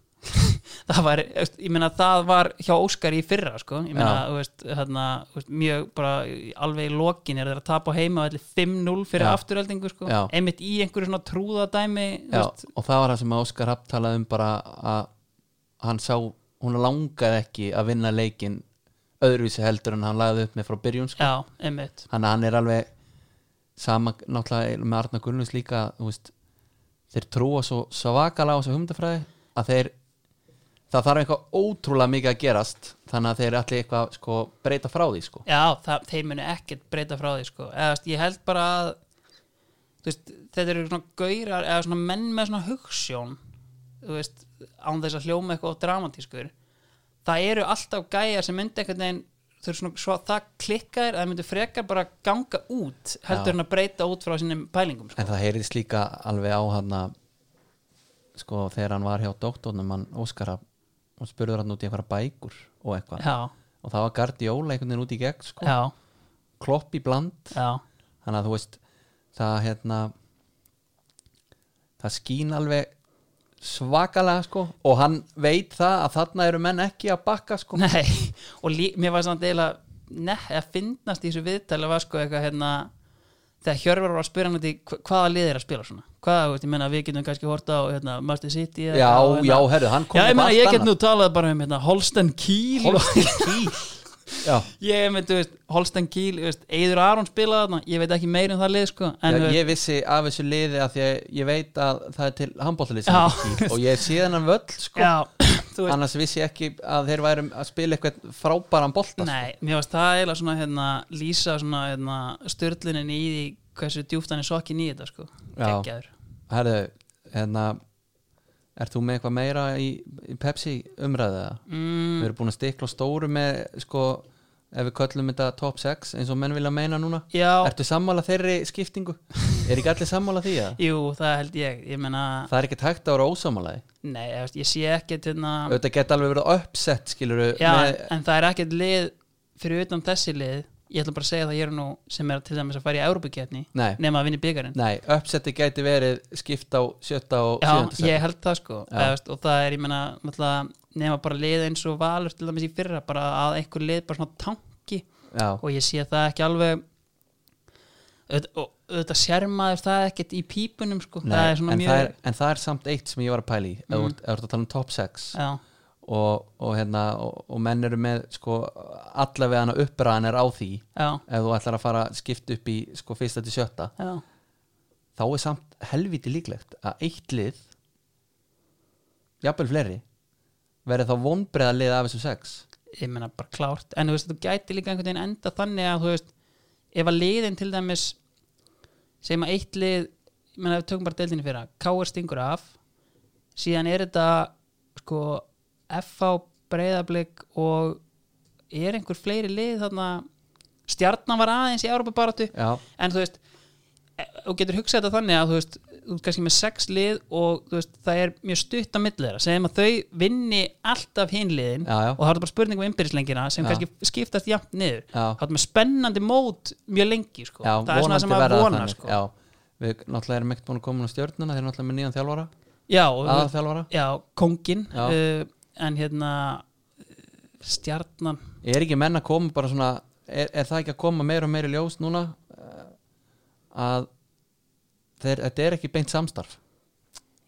það var, þú veist, ég meina það var hjá Óskar í fyrra sko ég meina,
Já.
þú veist, hérna, þú veist, mjög bara í- alveg í lokin er það að tapa á heima 5-0 fyrir
Já.
afturöldingu sko
Já.
einmitt í einhverju svona trúðadæmi þú
já,
veist,
og það var það sem Óskar Rapp talaði um bara að hann sá hún langaði ekki að vinna leikin öðruvísi heldur en hann lagði upp með frá byrjun sko.
já, einmitt
hann, hann er alveg sama náttúrulega með Arna Gunnus líka þú veist, þeir trúa svo svakala á þessu humdafræði að þeir það þarf eitthvað ótrúlega mikið að gerast þannig að þeir allir eitthvað sko, breyta frá því sko.
Já, það, þeir munu ekkert breyta frá því sko. eða, þú veist, ég held bara að þú veist, þetta eru svona gaurar eða svona menn með svona hugssjón þú veist, án þess að hljóma eitthvað of dramatískur það eru alltaf gæjar sem myndi einhvern veginn þau eru svona, svo það klikkaðir að það myndi frekar bara ganga út heldur
Já.
en að breyta út frá sínum pælingum sko.
en það heyrðist líka alveg á hann að sko þegar hann var hjá doktornum hann Óskara og spurður hann út í eitthvað bækur og eitthvað
Já,
og það var Gardi Óla einhvern veginn út í gegn sko.
sko. já,
klopp í bland
já
þannig að þú veist það hérna það skín alveg svakalega sko og hann veit það að þarna eru menn ekki að bakka sko
Nei, og lí, mér var samt eiginlega nef, að finnast í þessu viðtali var sko eitthvað hérna þegar Hjörvar var að spyrja hann út í hva- hvaða lið er að spila svona hvaða, þú veist, ég menna við getum kannski horta á hérna, Master City eða
já,
eitthvað og,
já,
hérna,
herru, hann kom
já, ég
upp
menna
allt
ég get
annað.
nú talað bara um hérna, Holsten Kiel og-
já,
ég með, þú veist, Holsten Kiel þú veist, Eidur Aron spilaði þarna, ég veit ekki meir um það lið sko,
já,
en þú veist,
ég vissi af þessu liði að því að ég veit að það er til handbóltalið
Já.
og ég sé þennan völl sko
já, þú veist
annars vissi ég ekki að þeir værum að spila eitthvað frábæran bolta sko.
Nei, mér varst það eiginlega svona hérna, lýsa svona hérna, störlunin í því hversu djúpt hann er sokkin í þetta sko,
Já.
geggjaður
herru, hérna er þú með eitthvað meira í, í Pepsi umræðið það?
mm,
við erum búin að stikla á stóru með sko, ef við köllum þetta top 6 eins og menn vilja meina núna
Já,
ertu sammála þeirri skiptingu? er ekki allir sammála því að?
jú, það held ég Ég meina,
það er ekki tækt að vera ósammálaði
nei, ég, veist, ég sé ekkert hérna,
auðvitað geta alveg verið uppsett skilur
Já, en það er ekkert lið fyrir utan þessi lið Ég ætla bara að segja það hér og nú sem er til dæmis að fara í Európa-ketni
nei,
nema að vinna byggarinn
nei uppsetti gæti verið skipt á sjötta og
Já,
sjötta
ég held það sko
Já.
eða, veist, og það er, ég meina, náttúrulega, nema bara lið eins og valur til dæmis í fyrra bara að einhver lið bara svona tanki
já,
og ég sé það ekki alveg auð- og auðvitað sérmaður það ekkert í pípunum sko
nei,
það er svona
en,
mjög Mm.
það er, en það er samt eitt sem ég var að pæla í ef þú ert- ef þú ert að tala um top 6
Já,
og, og, hérna, og, og menn eru með sko, allavega hana uppræðan er á því
já,
ef þú ætlar að fara að skipta upp í sko, fyrsta til sjötta
já,
þá er samt helviti líklegt að eitt lið jafnvel fleiri verði þá vonbreða lið af þessum sex
ég meina bara klárt en þú veist, þú gæti líka einhvern veginn enda þannig að þú veist, ef að liðin til dæmis segjum að eitt lið ég meina, við tökum bara deildinni fyrir að K.R. stingur af síðan er þetta sko F.A. breyðablik og er einhver fleiri lið þarna stjarnan var aðeins í Európa baratu
já,
en þú veist e- þú getur hugsað þetta þannig að þú veist þú ert kannski með sex lið og þú veist það er mjög stutt á milli þeirra segjum að þau vinni alltaf hinliðin
Já, já.
og það er bara spurning um innbyrðislengina sem
Já.
kannski skiptast jafn niður
Já.
þá er með spennandi mót mjög lengi sko.
já
það er svona sem að
verða það
vona
þannig,
sko.
já, við náttúrulega erum ekkert búin að koma á stjörnuna þeir eru náttúrulega með nýjan þjálfara,
já, og-
aðalþjálfara
já kongin
Já.
Uh, en hérna uh, stjarnan
er ekki menn að koma bara svona er, er það ekki að koma meira og meira í ljós núna eh, að þeir, þetta er ekki beint samstarf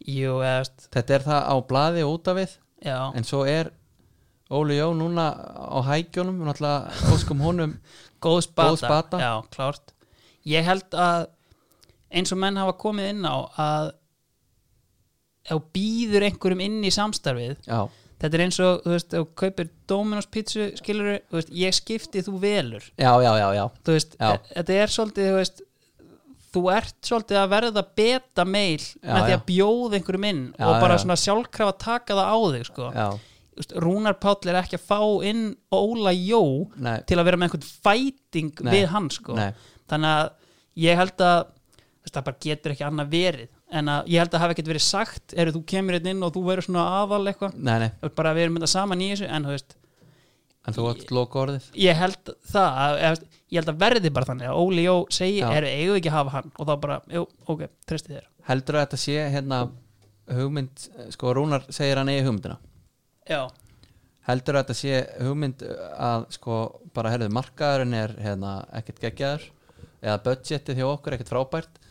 jú, eða, þú veist,
þetta er það á blaði og út af við
já,
en svo er Óli Jó núna á hækjónum og náttúrulega óskum honum
góð spata,
Góð spata.
Já, klárt ég held að eins og menn hafa komið inn á að ef býður einhverjum inn í samstarfið
já,
þetta er eins og, þú veist, ef þú kaupir Dominos pizzu, skilur þú veist, ég skipti þú velur,
já, já, já, já.
þú veist
Já.
e- þetta er svolítið, þú veist þú ert svolítið að verða beta meil
Já,
með því
já.
að bjóða einhverjum inn
Já,
og bara
já, já.
svona sjálfkrafa taka það á þig sko.
já.
Þú veist, Rúnar Páll er ekki að fá inn Óla Jó
Nei,
til að vera með einhvern fæting
Nei,
við hann sko.
nei.
þannig að ég held að þú veist, það bara getur ekki annað verið en að ég held að hafa ekkert verið sagt eru þú kemur einn inn og þú verður svona aðal eitthvað
Nei, nei,
Þú veist, bara við erum þetta saman í þessu en þú veist,
en þú átt loka orðið
ég held það að, eða, þú veist, ég held að verði bara þannig að Óli Jó segi
Já.
eru eigum við ekki að hafa hann og þá bara, jú, ok, treysti þér
Heldur að þetta sé hérna hugmynd, eh, sko Rúnar segir hann eigi hugmyndina
já,
Heldur að þetta sé hugmynd eh, að sko bara herðu markaðurinn er hérna ekkert geggjaður eða budgetið hjá okkur ekkert frábært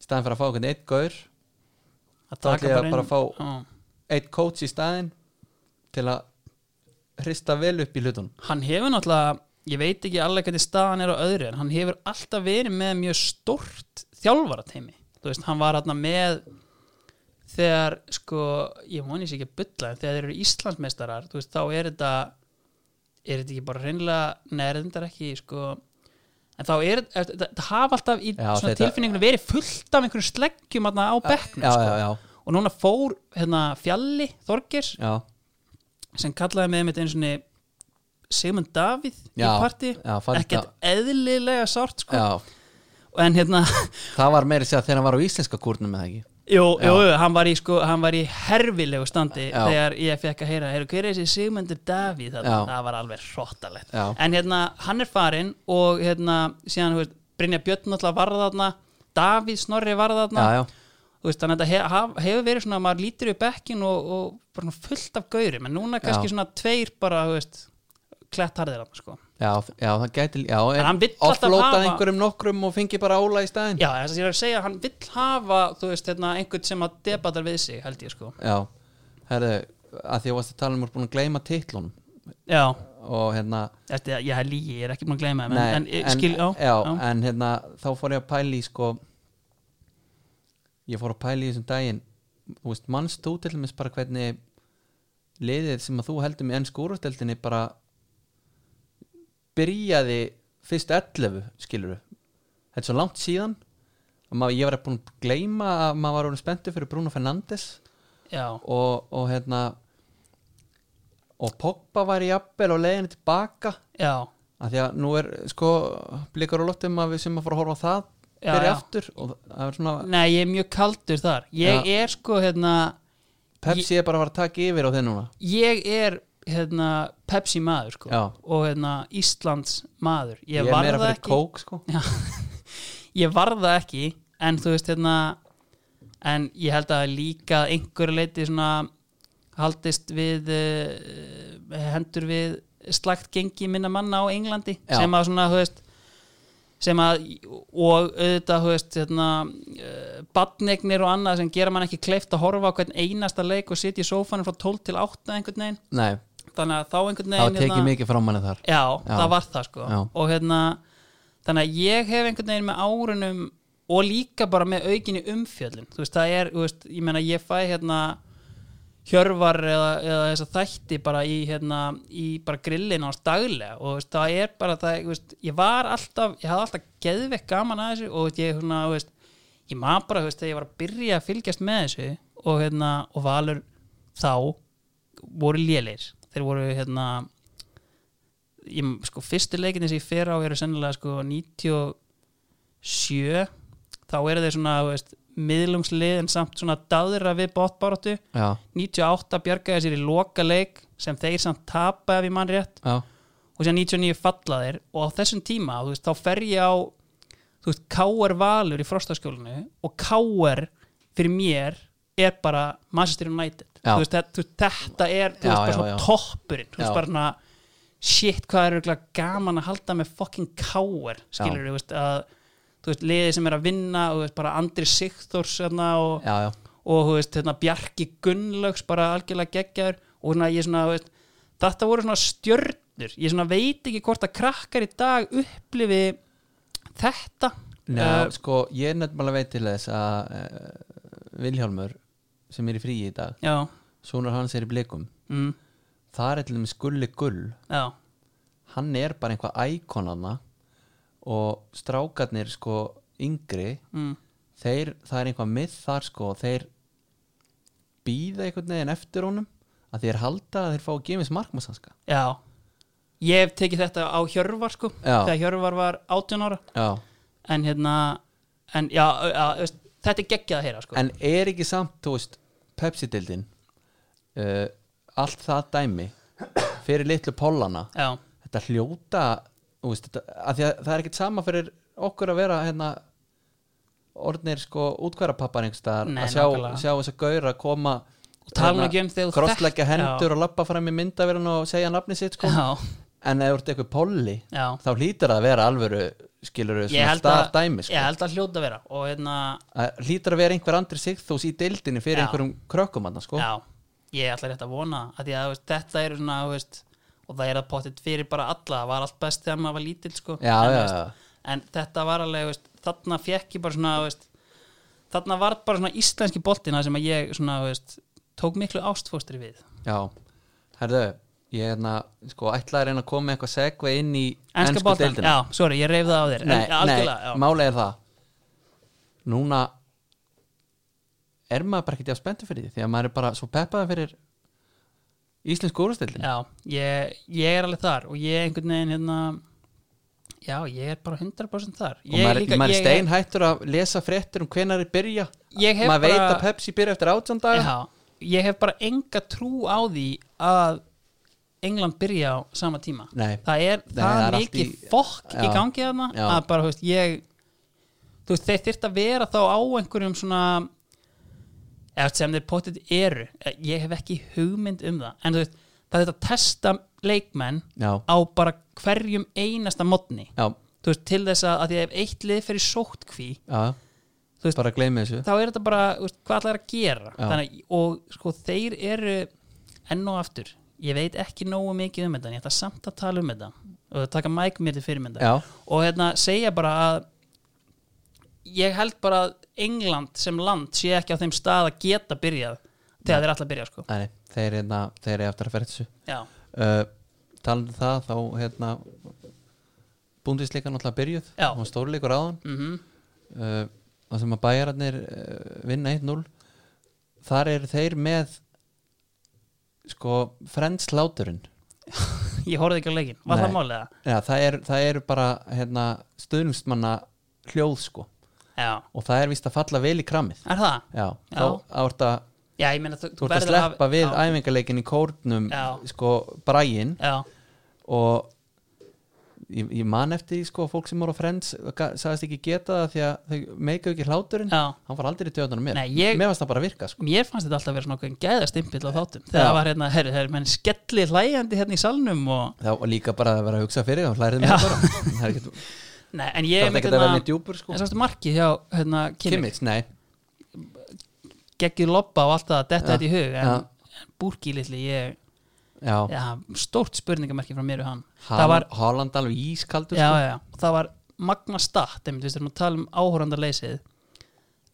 í staðan fyrir að fá okkur eitt gaur
að
Þá ætla ég að bara fá-
Já.
eitt coach í staðin til að hrista vel upp í hlutunum
hann hefur náttúrulega ég veit ekki alveg hvernig staðan er á öðru en hann hefur alltaf verið með mjög stort þjálfarateimi, þú veist, hann var hann með þegar sko, ég moni sér ekki að bulla en þegar þeir eru Íslandsmeistarar, þú veist, þá er þetta er þetta ekki bara reynlega neður þetta er ekki, sko en þá er þetta, þetta- þetta hafa alltaf í
Já,
svona
þetta-
tilfinningunum verið fullt af einhverjum sleggjum þarna á bekknum,
Já,
sko
já, já,
og núna fór hérna fjalli Þorgers
já,
sem kallaði með einmitt einu svona Sigmund Davíð í
Já,
partí
já, fannst
ekkert eðlilega sárt sko.
já.
en hérna,
Það var meiri sér að þegar hann var á íslenska kúrnum með það ekki
jú,
Já.
jú, jú, hann var í sko, hann var í herfilegu standi
Já.
þegar ég fekk að heyra, heyra hver er þessi Sigmundur Davíð þarna,
Já.
það var alveg hróttalegt
Já.
en hérna, hann er farinn og hérna, síðan, þú veist, Brynja Björn náttúrulega varða þarna, Davíð Snorri varða þarna
Já, já,
Þú veist, þannig að þetta hef, haf- hefur verið svona að maður lítur í bekkin og, og bara svona fullt af gaurum en núna kannski
Já.
svona tveir bara, þú veist klett harðir hann sko
já, já, það gæti já,
En hann vill alltaf
Offlótað
hafa-
einhverjum nokkrum og fengi bara ála í staðin
Já, þess að ég er að segja að hann vill hafa þú veist, hérna, einhvern sem að debatar við sig held ég sko
Já, herðu, að því að varst að tala um að búin að gleyma titlunum
Já,
og hérna
eftir að ég er lígi, ég er ekki búin að gleyma þeim en,
nei,
en, en skil, já,
já, en hérna þá fór ég að pæla í sko ég fór að pæla í þessum daginn þú veist, manst þú til dæmis bara hvernig liðið sem að þú heldur með enn skúrasteltinni bara byrjaði fyrst 11 skilur þetta er svo langt síðan að maður, ég var búin að gleyma að maður var orðin spenntur fyrir Bruno Fernandes
já,
og, og hérna og Pogba var í appel og leiðinni tilbaka
já,
að því að nú er sko blikar og lottum að við sem að fara að horfa á það
Já,
fyrir
já.
aftur og það er svona
Nei, ég er mjög kaldur þar Ég er sko, hérna
Pepsi er bara að fara að taka yfir á þeir núna
ég er hérna, Pepsi maður sko
Já.
og hérna, Íslands maður
ég,
Ég, ég
er
var
meira
það
fyrir
ekki
kók sko
Já, ég varð það ekki en þú veist hérna en ég held að líka að einhverju leiti svona haldist við uh, hendur við slagt gengi minna manna á Englandi
Já.
sem að svona, þú veist sem að, og auðvitað, þú veist hérna, uh, badneignir og annað sem gera mann ekki kleift að horfa á hvern einasta leik og sitja í sófanum frá 12 til 8 einhvern veginn,
nei,
þannig að þá einhvern
það
veginn hérna,
var tekið mikið frá manni þar
já,
Já.
það var það sko
Já.
og hérna, þannig að ég hef einhvern veginn með árunum og líka bara með aukinni umfjöllin þú veist, það er, þú veist, ég meina ég fæ hérna hjörvar eða, eða þessa þætti bara í hérna, í bara grillin hans daglega og þú veist, það er bara það, þú veist, ég var alltaf, ég hafði alltaf geðvekk gaman að þessu og þú veist, ég svona, þú veist, ég maður bara, þú veist, þegar ég var að byrja að fylgjast með þessu og hérna, og Valur þá voru lélir þeir voru hérna ég, sko, fyrstu leikinni sem ég fer á eru sennilega sko 97 þá eru þeir svona þú veist, miðlungslið en samt svona daðra við bóttbáratu
já,
98 bjargaði sér í loka leik sem þeir samt tapa ef ég mann rétt
já,
og sér 99 falla þeir og á þessum tíma þú veist, þá fer ég á þú veist, K.R. Valur í frostaskjólinu og K.R. fyrir mér er bara Manchester United
Já.
þú veist, þetta, þú veist, þetta er þú
Já,
veist, bara
já,
svona
já.
toppurinn þú
Já.
veist, bara svona shit, hvað er örugglega gaman að halda með fucking K.R. skilur þú veist, að þú veist, liðið sem er að vinna og þú veist, bara Andri Sigþórs hérna, og,
já, já.
og þú veist, hérna, Bjarki Gunnlaugs bara algjörlega geggjaður og svona, ég svona, þú veist, þetta voru svona stjörnur, ég svona veit ekki hvort að krakkar í dag upplifi þetta
Njá,
Eh,
sko, ég er nefnilega veit til þess að uh, Vilhjálmur sem er í fríi í dag
já,
sonur hans er í blikum
mm,
það er til þeim skulli gull
já,
hann er bara einhvað íkonana og strákarnir sko yngri
mm,
þeir, það er einhvað mið þar sko þeir býða einhvern veginn eftir honum að þeir halda að þeir fá að gefa þess markmasanska
já ég hef tekið þetta á Hjörvar sko
Já.
þegar Hjörvar var 18 ára
já,
en hérna en já, já veist, þetta er geggjað að heyra sko.
en er ekki samt, þú veist Pepsi-dildin uh, allt það dæmi fyrir litlu pollana
já,
þetta hljóta þú veist, þetta, að að það er ekkit sama fyrir okkur að vera hérna orðnir sko útkværapappar einhverstaðar
Nei,
að sjá,
nákvæmlega.
sjá þess að gaur að koma hérna,
Og tala nú ekki um þegar þú
krossleggja
þekkt-
hendur og lappa fram í myndavélun og segja nafni sitt sko
já,
en ef þú ert eitthvað polli
já
þá hlýtur það að vera alvöru skilur
ég
svona
held, að,
starfdæmi sko.
ég held að hljóta vera og hérna,
að hlýtur að vera einhver andri sigþós í deildinni fyrir
Já.
einhverjum krökkum hann sko.
já ég ætla rétt að vona að því að þú veist, þetta eru svona þú veist, og það er að pottit fyrir bara alla það var allt best þegar maður var lítill sko.
Já,
en,
já,
þú
já.
en þetta var alveg þú veist, þarna fekk ég bara svona þú veist, þarna var bara svona íslenski boltina sem að ég svona, þú veist, tók miklu ástfóstri við
já, herðu ég hérna, sko, ætla að reyna að koma með eitthvað segva inn í
Enska
ensku
boltan,
deildina
já, sorry, ég reyf það á þér
nei,
en, algjörlega,
nei, málega er það núna er maður bara ekki því að spenntu fyrir því því að maður er bara svo peppaði fyrir íslensku úrstildin
já, já ég, ég er alveg þar og ég einhvern veginn hérna já, ég er bara 100% þar
og
ég
maður, maður er
ég-
steinhættur að lesa fréttir um hvenær er byrja
Ég hef
maður veit
bara-
að Pepsi byrja eftir átján daga
Já, ég hef bara enga trú á því að England byrja á sama tíma
Nei.
það er
Nei,
það
það er allt
mikið
í-
fokk í
Já.
gangi þarna
Já.
að bara, þú veist, ég þú veist, þeir þyrft að vera þá á einhverjum svona eða sem þeir pottit eru Eh, ég hef ekki hugmynd um það en þú veist, það þetta testa leikmenn
já,
á bara hverjum einasta modni,
já,
þú veist, til þess að, að því ef eitt lið fyrir sóttkví
já.
Þú veist-
bara gleymi þessu
þá er þetta bara þú veist, hvað allar að gera
Já.
Þannig, að- og sko þeir eru enn og aftur, ég veit ekki nógu mikið um þetta en ég ætla samt að tala um þetta og taka mæk mér til fyrirmynda
já,
og hérna segja bara að ég held bara að England sem land sé ekki á þeim stað að geta byrjað þegar þeir ætla að byrja sko
Nei, nei, þeir, hérna, þeir er eftir að ferða þessu
já,
uh, talandi um það þá hérna búndisleika náttúrulega byrjuð
Já.
hún stórleikur áðan
mm
uh, það sem að bæjararnir uh, vinna 1-0 þar eru þeir með sko frendsláturinn
ég horfði ekki á leikin var
Nei.
það málið það?
ja, það eru er bara hérna, stuðningsmanna hljóð sko
já,
og það er vist að falla vel í kramið
er það?
já,
Já.
þá árt að
já, ég meina
þú
þú,
ert að
verður
sleppa við
já,
æfingarleikin í kórnum
Já.
sko bræin
já,
og ég, ég man eftir því sko fólk sem voru á Friends ga- sagðist ekki geta það því að þau meika ekki hláturinn
já
hann var aldrei í tjóðanum mér
Nei, ég-
mér varst það bara að virka sko
mér fannst þetta alltaf að vera svona okkur gæðastimpill á þáttum þegar
Já.
það var hérna, herru, herru, menn skelli hlæjandi hérna í salnum og
þá og líka bara að vera að hugsa fyrir þá hlærið mér
Já.
bara það er ekkert-
Nei, en
það
ég hérna-
er ekki að vera með djúpur sko
en sástu markið hjá hérna, Kimmich,
Kimmich, nei,
geggið lobba og allt það
Já.
detta þetta í hug en,
Já.
en Búrki litli, ég,
já
já, stórt spurningamerki frá mér og hann það var,
Haaland- Haaland alveg ískaldur
já,
sko.
já, já, það var magna statt, einmitt, við styrum að tala um áhórandarleysið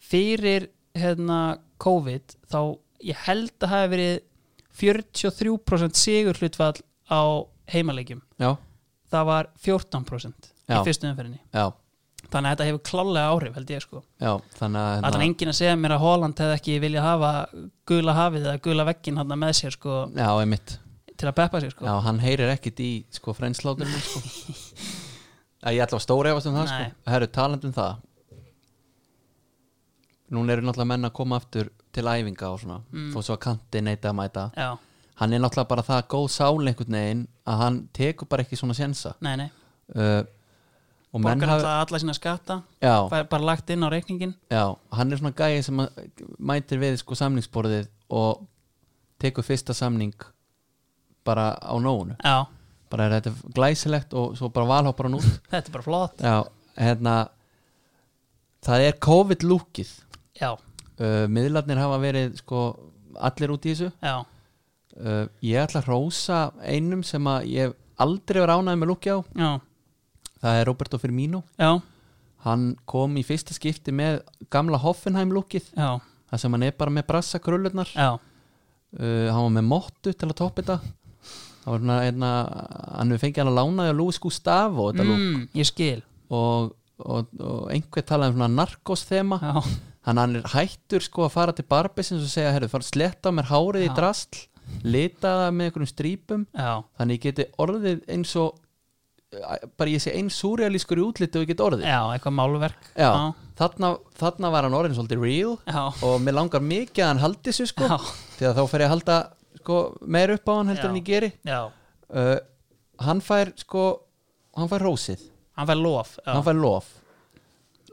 fyrir hérna COVID þá ég held að hafi verið 43% sigur hlutfall á heimaleikjum
já,
það var 14%
Já.
í fyrstu umferðinni
já,
þannig að þetta hefur klálega áhrif held ég sko
já þannig að
allan
hérna-
enginn að segja mér að Holland hefði ekki viljað hafa gula hafið eða gula veggin hann með sér sko
já, einmitt
til að peppa sér sko
já, hann heyrir ekkit í sko frensláturinn sko að ég ætla að stóra efast um það
Nei.
sko herru, talandi um það núna eru náttúrulega menn að koma aftur til æfinga og svona
Mm.
þó svo að kanti neita að mæta
já,
hann er náttúrulega bara það góð sál einhvern veginn að hann tekur bara ekki svona sjensa
nei nei
uh, og menn
borgar
hafa
alltaf alla sína skatta
já,
bara, bara lagt inn á reikningin
já, hann er svona gæi sem að- mætir við sko samningsborðið og tekur fyrsta samning bara á nóunu
já,
bara er þetta glæsilegt og svo bara valhoppar hann út
þetta er bara flott
Já, hérna Það er COVID-lúkið
já,
uh, Miðlarnir hafa verið sko allir út í þessu
já,
uh, Ég ætla að rósa einum sem að ég hef aldrei verið ánæði með lúki á
já,
Það er Roberto Firmino
já
Hann kom í fyrsta skipti með gamla Hoffenheim lúkið
já,
Það sem hann er bara með brassa krullurnar
já,
uh, Hann var með mottu til að toppa þetta Það var svona, hérna, hann hefur fengið hann að lánaði að Lúis Gustavo þetta lúk
mm, ég skil
og, og, og einhver talaði um svona narkos þema
já,
hann, hann er hættur sko að fara til barbisins og segja, herru, fara að sletta á mér hárið
Já.
í drasl, lita það með einhverjum strípum
já,
þannig ég geti orðið eins og bara ég sé einn súrealískur í útliti og ég get orðið
já, eitthvað málverk
Já, Þarna, þarna var hann orðin svolítið real
já,
og mér langar mikið að hann haldi sig sko,
já,
því að þá fer ég að halda sko, meir upp á hann heldur
Já.
en ég geri
já.
uh, hann fær sko hann fær rósið,
hann fær lof já,
hann fær lof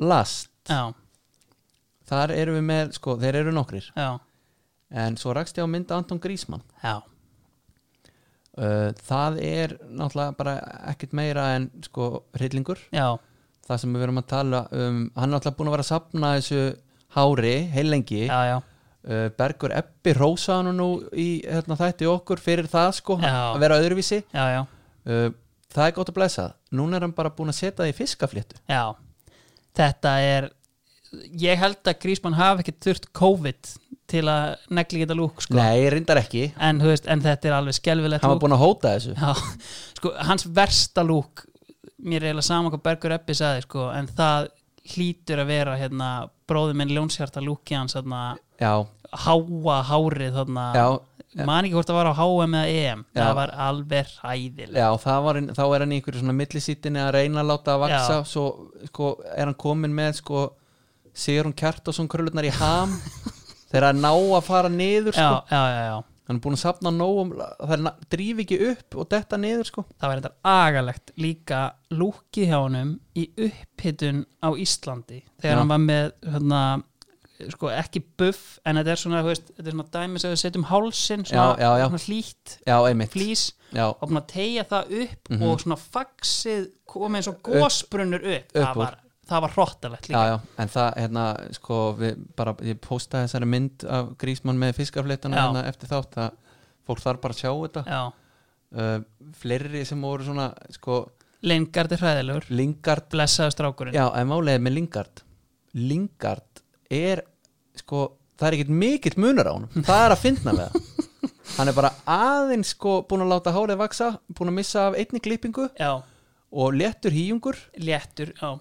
last,
já,
þar erum við með sko, þeir eru nokkrir,
já,
en svo rakst ég á mynda Anton Grísmann
já,
uh, það er náttúrulega bara ekkit meira en sko hryllingur,
já,
það sem við verum að tala um, hann er náttúrulega búin að vera að sapna þessu hári, heilengi
já, já.
uh, Bergur Eppi rósa hann nú í hérna, þætti okkur fyrir það sko
Já.
að vera öðruvísi
já, já,
uh, það er gott að blæsa núna er hann bara búin að setja það í fiskafléttu
já þetta er ég held að Grísmann hafi ekki þurft COVID til að negli geta lúk sko.
nei, reyndar ekki,
en, þú veist, en þetta er alveg skelfilegt
hann var
lúk
búin að hóta þessu
já, sko, hans versta lúk mér er eiginlega sama hvað Bergur Eppi saði sko, en það hlýtur að vera hérna, bróður minn ljónshjarta lúki hans hérna,
já,
háa hárið þarna,
já,
man ekki hvort það var á HM eða EM,
Já.
það var alveg hæðileg
já það var, þá er hann í einhverju svona millisítinni að reyna að láta að vaksa svo sko, er hann komin með sko, Sigrun Kjartosson krölunar í ham þegar hann ná að fara niður sko.
já, já, já, já
hann er búin að sapna nógum það er, drífi ekki upp og detta niður sko.
það var þetta agalegt líka lúkið hjá honum í upphitun á Íslandi þegar
Já.
hann var með hérna, sko, ekki buff en þetta er svona, þú veist, þetta er svona dæmis að við setjum hálsin svona,
Já, já, já.
svona hlýtt
já, einmitt
flís
já,
og búin að tegja það upp
Mhm.
og svona faxið komið eins og gósbrunnur upp,
upp
það,
úr.
var, það var hróttalegt líka
já, já, en það hérna, sko, við bara ég postaði þessari mynd af grísmann með fiskafléttana
Já.
hérna eftir þátt að fólk þarf bara að sjá þetta
Já.
uh, fleiri sem voru svona, sko,
Lingard er hræðilegur,
Lingard
blessaður strákurinn
já, en málega með Lingard Lingard er, sko það er ekkert mikill munur á honum það er að finna með það hann er bara aðeins, sko, búin að láta hárið vaksa búin að missa af einni klippingu
já,
og léttur hýjungur
léttur, já,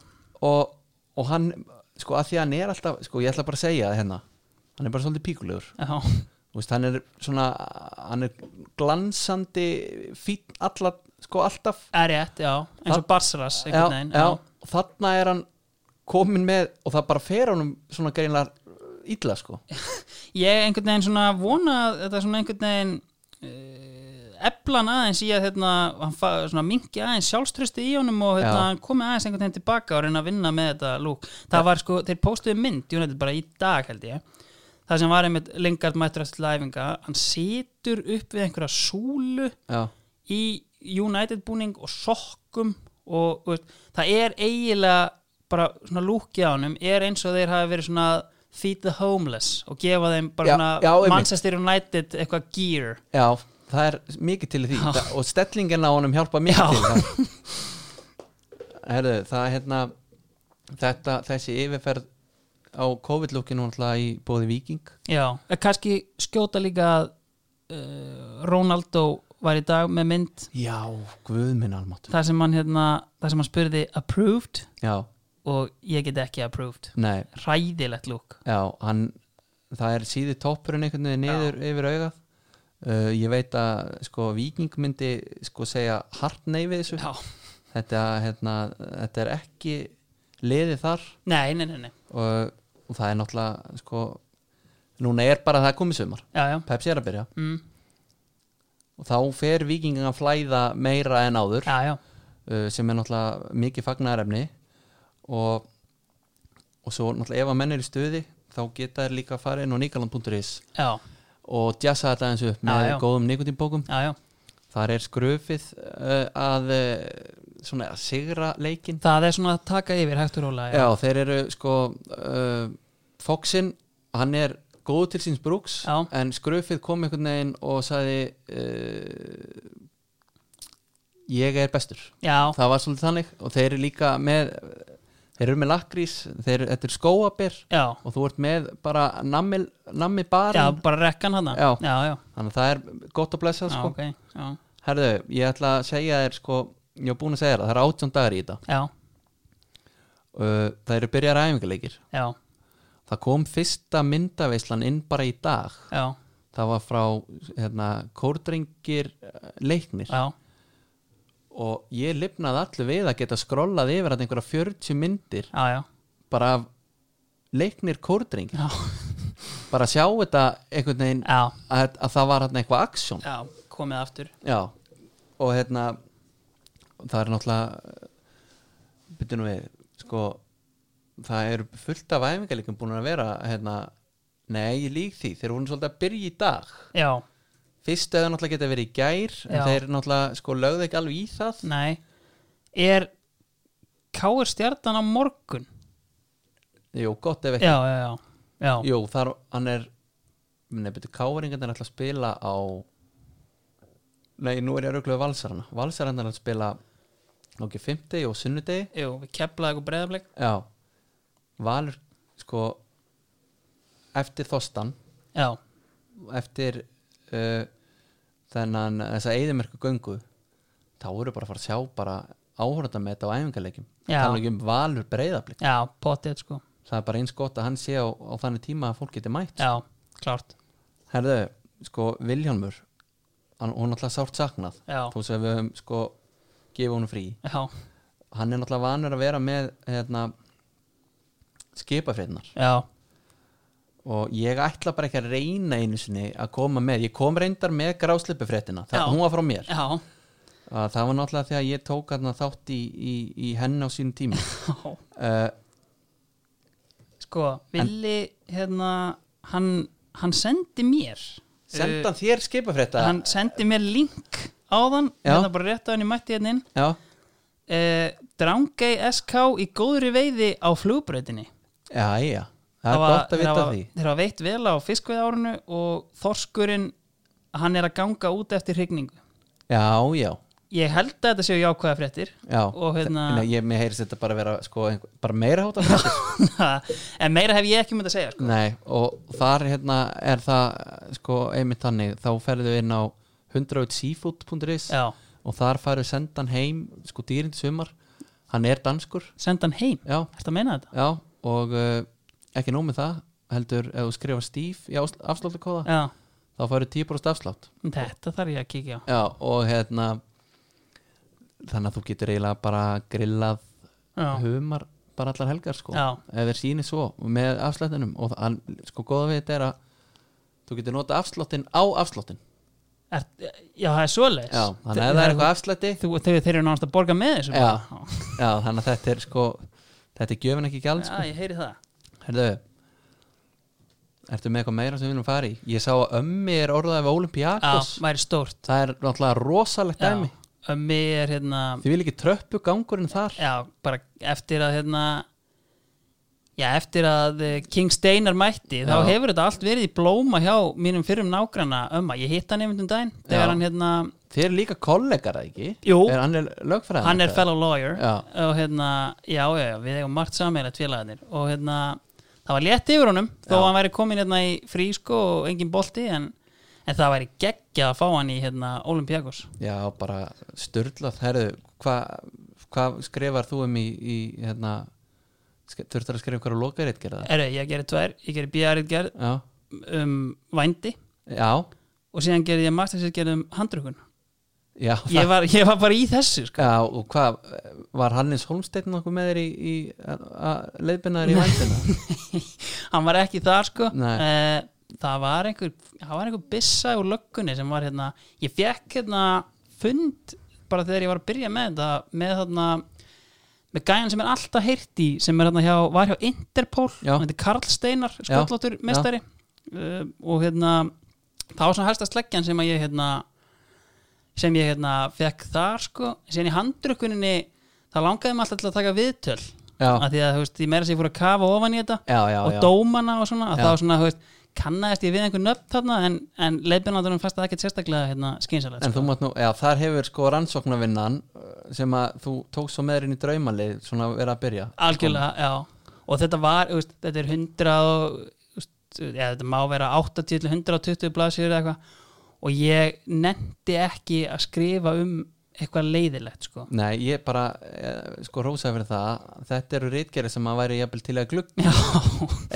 og, og hann sko að því að hann er alltaf, sko ég ætla bara að segja það hérna, hann er bara svolítið píkulegur
já,
Þú veist, hann er svona hann er glansandi fín alla, sko alltaf
er rétt, já eins og Barsras,
Já,
einhvern veginn
já, og þarna er hann komin með og það bara fer honum svona greinlega illa sko,
ég einhvern veginn svona vona að þetta svona einhvern veginn uh, eblan aðeins í að hérna, hann fa, svona mingi aðeins sjálfströsti í honum og hérna,
Já.
hann komi aðeins einhvern veginn tilbaka og reyna að vinna með þetta lúk það var sko, þeir postuðu mynd United bara í dag held ég það sem var einmitt lengart mættur eftir læfinga hann situr upp við einhverja súlu
já,
í United búning og sokkum og þú veist, það er eiginlega bara svona lúkið á honum er eins og þeir hafi verið svona feed the homeless og gefa þeim bara
Já, já,
svona
einmitt.
Manchester United eitthvað gear
já það er mikið til í því það, og stellingin á honum hjálpa
Já.
mikið til það. Herðu, það er hérna þetta, þessi yfirferð á COVID-lúkinu í bóði Viking
já, Eh, kannski skjóta líka að uh, Ronaldo var í dag með mynd
Já, guð minn almáttur
þar sem hann hérna, þar sem hann spurði approved
Já,
og ég get ekki approved
nei,
ræðilegt lúk
já, hann það er síði toppurinn einhvern veginn niður yfir augað uh, ég veit að sko viking myndi sko segja hart nei við þessu
já,
þetta, hérna, þetta er ekki liðið þar
nei, nei, nei, nei
og, og það er náttúrulega sko, núna er bara það komið sumar
já, já,
Pepsi er að byrja
mm,
og þá fer vikingin að flæða meira en áður
já, já,
uh, sem er náttúrulega mikið fagnarefni og, og svo náttúrulega ef að menn er í stuði þá geta þær líka að fara inn á nikaland.is
já,
og jazza þetta eins upp
Já,
með
já.
góðum nikotinbókum
já, já.
þar er skröfið uh, að uh, svona að sigra leikin
það er svona að taka yfir hægt og róla
já. þeir eru sko uh, Foxin, hann er góð til síns brúks
Já.
en skröfið kom einhvern veginn og sagði uh, ég er bestur
Já,
það var svolítið þannig og þeir eru líka með þeir eru með lakrís, þeir eru, þetta er skóaber
já,
og þú ert með bara nammi, nammi
já,
barinn
bara rekkan hann
Já.
já, já,
þannig að það er gott að blessa
já,
sko.
ok Já,
herðu, ég ætla að segja þér sko, ég var búin að segja þér að það er átjón dagar í þetta
já,
Uh, það eru byrjar æfingarleikir
já,
það kom fyrsta myndaveislan inn bara í dag
já,
það var frá hérna, kórdrengir eh, uh, leiknir
já,
og ég lifnaði allu við að geta skrollað yfir að einhverja 40 myndir
já, já,
bara af leiknir kórdring
já,
bara sjá þetta einhvern veginn
já,
að, að það var hérna eitthvað aksjón
já komið aftur
já og hérna það er náttúrulega byrju nú við sko það eru fullt af æfingarleikum búin að vera hérna nei ég lík því þeir voru svolítið að byrja í dag
já,
fyrst eða náttúrulega geta verið í gær en
Já.
þeir náttúrulega sko lögðu ekki alveg í það
nei er Káur stjartan á morgun
jú gott ef ekki
já, já, já, já,
Jú, þar, hann er Nei, betur, Káringarnir er alltaf að spila á Nei, nú er ég að röglega valsarana Valsarana er að spila Nóki, 50 og sunnudegi
jú, við keplaði eitthvað breyðablik
Já, Valur Sko Eftir Þostan
já,
Eftir uh, Þennan, þessa eyðimerku göngu Þá eru bara að fara að sjá bara áhörða með þetta á æfingarleikjum
Já.
Tala ekki um Valur breyðablik
já, potið sko
Það er bara eins gott að hann sé á, á þannig tíma að fólk geti mætt
já, klárt
Herðu, sko, Viljálmur hann, hún er náttúrulega sárt saknað
já,
þó sem við höfum, sko, gefið hún frí
já,
hann er náttúrulega vanur að vera með hérna, skipafriðnar
já,
og ég ætla bara ekki að reyna einu sinni að koma með, ég kom reyndar með gráslipufréttina,
Já.
það, hún var frá mér
já,
að það var náttúrulega þegar ég tók hérna, þátt í, í, í henn á sínum tíma
já
uh,
sko, Vili hérna, hann, hann sendi mér
senda hann þér skipafrétta
Eh, hann sendi mér link á þann
Já.
hérna bara rétt á henni mætti hérna inn
já,
uh, Drangei SK í góðri veiði á flugbröðinni
já, já það er gott að vita því
þeir hafa veitt vel á fiskveið árinu og þorskurinn hann er að ganga út eftir hrygningu
já, já,
ég held að þetta séu jákvæða fréttir
já,
og hérna
Nei, ég, mér heyrist þetta bara vera sko, einhver, bara meira hátar fréttir.
en meira hef ég ekki myndið að segja sko.
Nei, og þar hérna er það sko einmitt þannig, þá ferðu inn á 100seafood.is
já,
og þar færðu sendan heim sko dýrind sumar, hann er danskur
senda hann heim
já,
Ertu að meina þetta?
já og uh, ekki nóg með það, heldur ef þú skrifar stíf í afsláttakóða
Já,
þá færðu 10% afslátt
þetta þarf ég að kíkja á
já, og hérna þannig að þú getur eiginlega bara grillað
Já,
humar bara allar helgar sko
já,
ef þeir sýni svo með afslættinum og það, sko góða við þetta er að þú getur nota afsláttin á afsláttin
er, já það er svoleiðis
já, þannig að ef það er eitthvað afslætti
þú, Þeir, þeir eru náttúrulega að borga með þessu
Já.
bara.
já, þannig að þetta er sko þetta er gjöfin ekki
já,
gjald sko.
ég heyri það
herðu ertu með eitthvað meira sem við viljum fara í ég sá að ömmi er orðað af Olympiakos
Já, væri stórt
það er náttúrulega rosalegt
Já.
dæmi
Ömmi er hérna
því vil ekki tröppu gangurinn þar
Já, bara eftir að hérna Já, eftir að eh, King Steinar mætti þá
Já.
hefur þetta allt verið í blóma hjá mínum fyrrum nágrana ömma, ég hitt hann einmitt um daginn
Já.
þegar hann hérna,
þið eru líka kollegar eða ekki
Jú.
er hann er lögfræðan
hann er fellow lawyer
Já.
og hérna, já, já, já, við eigum margt sammeila tvélagarnir og hérna það var létt yfir honum, þó
Já.
að hann væri komin hérna í frí sko og engin bolti en, en það væri geggjað að fá hann í hérna Olympiakos
Já, bara styrlað, herðu, hvað hva skrifar þú um í, í hérna, þurftar að skrifa einhverja lokarit gerða?
Erðu, ég gerði tvær, ég gerði bíaritgerð
Já,
um vændi
já,
og síðan gerði ég mastersgerð um handrukun
já,
ég var, ég var bara í þessu sko.
já og hvað, var Hannes Holmsteinn nokkuð með þér í, í að- að leiðbina þér í vandina?
hann var ekki þar sko.
Nei.
Eh, það var einhver það var einhver byssa úr löggunni sem var hérna, ég fekk hérna fund bara þegar ég var að byrja með þetta með þarna með gæjan sem er alltaf heyrt í sem er hérna hjá, var hjá Interpol
Já.
hann heitir Karl Steinar, skollóttur mestari uh, og hérna það var svona helsta sleggjan sem að ég hérna sem ég hérna fekk þar sko, síðan í handrukkuninni það langaði mig alltaf til að taka viðtöl
Já,
að því að þú veist, ég meira sér fór að kafa ofan í þetta
já, já,
og
já,
dómana og svona, að
Já.
það var svona, þú veist kannaðist ég við einhver nöfn þarna en, en leifinandunum fannst það ekkert sérstaklega hérna, skynsalega
en þú mátt nú, já, þar hefur sko rannsóknarvinnan eh, sem að þú tókst svo með þér inn í draumalið, svona verið að byrja.
algjörlega, já, og þetta var þú veist, þetta er 100 og, þú veist, já, þetta má vera 80 til 120 blaðsýður eða eitthvað og ég nefndi ekki að skrifa um eitthvað leiðilegt sko.
Nei, ég bara, eh, sko, rósaði fyrir það, þetta eru rítgerið sem að væri jafnvel til að glugg
já,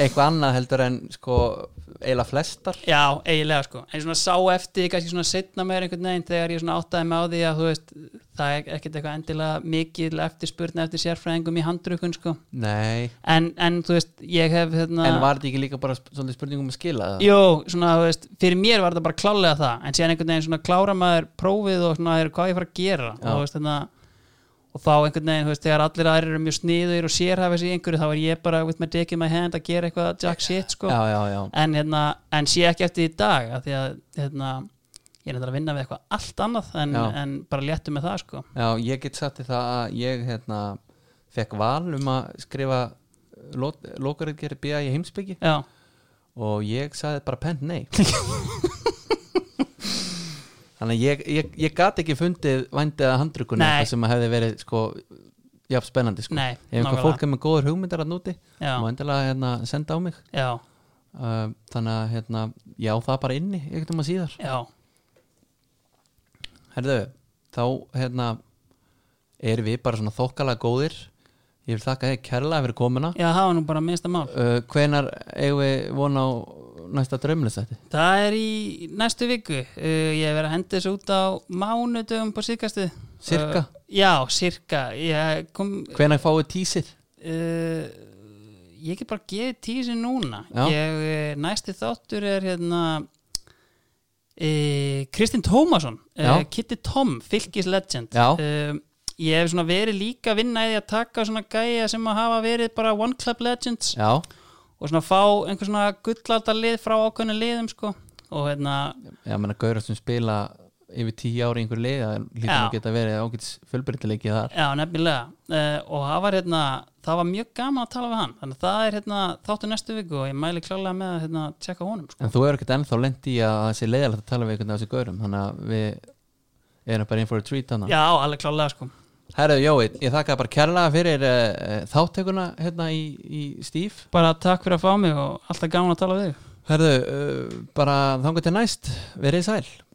eitthvað annað heldur en sko eiginlega flestar
já, eiginlega sko en svona sá eftir, því kannski svona setna meir einhvern veginn þegar ég svona áttaði með á því að þú veist það er ekkert eitthvað endilega mikil eftirspurn eftir sérfræðingum í handrukun sko.
Nei,
en, en þú veist, ég hef hérna,
en var þetta ekki líka bara sp- svolítið spurningum að skila það?
Jú, svona, þú veist, fyrir mér var þetta bara klálega það en síðan einhvern veginn svona klára maður prófið og svona, er, hvað ég fara að gera og,
Já.
þú veist, hérna, og þá einhvern veginn, þú veist, þegar allir aðrir eru mjög sniður og sérhæfa sig í einhverju þá er ég bara with my dick in my hand að gera eitthvað jack shit sko.
Já, já, já,
en, hérna, en sé ekki eftir því í dag af því að hérna, ég er þetta að vinna við eitthvað allt annað en,
Já.
en bara léttu með það sko.
já, ég get satt í það að ég hérna fekk val um að skrifa lokaritgeri BA í heimsbyggi
Já,
og ég sagði bara pent nei Þannig að ég, ég, ég gat ekki fundið vændið að handrukkunni
Nei.
eitthvað sem að hefði verið sko jafn spennandi sko
Nei,
Ef einhver
nákvæmlega.
fólk er með góður hugmyndar að núti
Já.
má endilega hérna, senda á mig
já,
uh, þannig að hérna, já það bara inni ekkert um að síðar
já
Herðu, þá hérna erum við bara svona þokkalega góðir ég vil þakka þér kærlega fyrir komuna
Já, það var nú bara minnsta mál
uh, hvenar eigum við von á næsta draumlistætti
Það er í næstu viku uh, Ég hef verið að henda þessu út á mánudögum på síðkastu
Sirka?
Uh, já, sirka Ég kom
hvenar fáið tísið
uh, Ég get bara gefið tísi núna
Já.
ég, uh, Næsti þáttur er hérna uh, Kristinn Tómasson uh,
Já.
Kitty Tom, Fylkis Legend
Já.
Uh, Ég hef svona verið líka að vinna í því að taka svona gæja sem að hafa verið bara One Club Legends
já,
og svona fá einhver svona gullaldalið frá ákveðinu liðum sko og hérna,
já menna gaurar sem spila yfir tíu ári í einhver leið það hlýtur nú
Já.
að geta verið ágætis fjölbreytileiki þar
já nefnilega uh, og það var hérna, það var mjög gaman að tala við hann þannig að það er hérna þáttu næstu viku og ég mæli klálega með að hérna tjekka honum sko.
en þú er ekkert ennþá lent í að það sé leiðalegt að tala við einhvern af þessu gaurum þannig að við erum bara in for a treat þannig
já, alveg klálega sko
Herðu Jói, ég þakka bara kærlega fyrir uh, þáttekuna hérna í, í Stíf
bara takk fyrir að fá mig og alltaf gaman að tala við þig
eh, Herðu, uh, bara þangur til næst verið sæl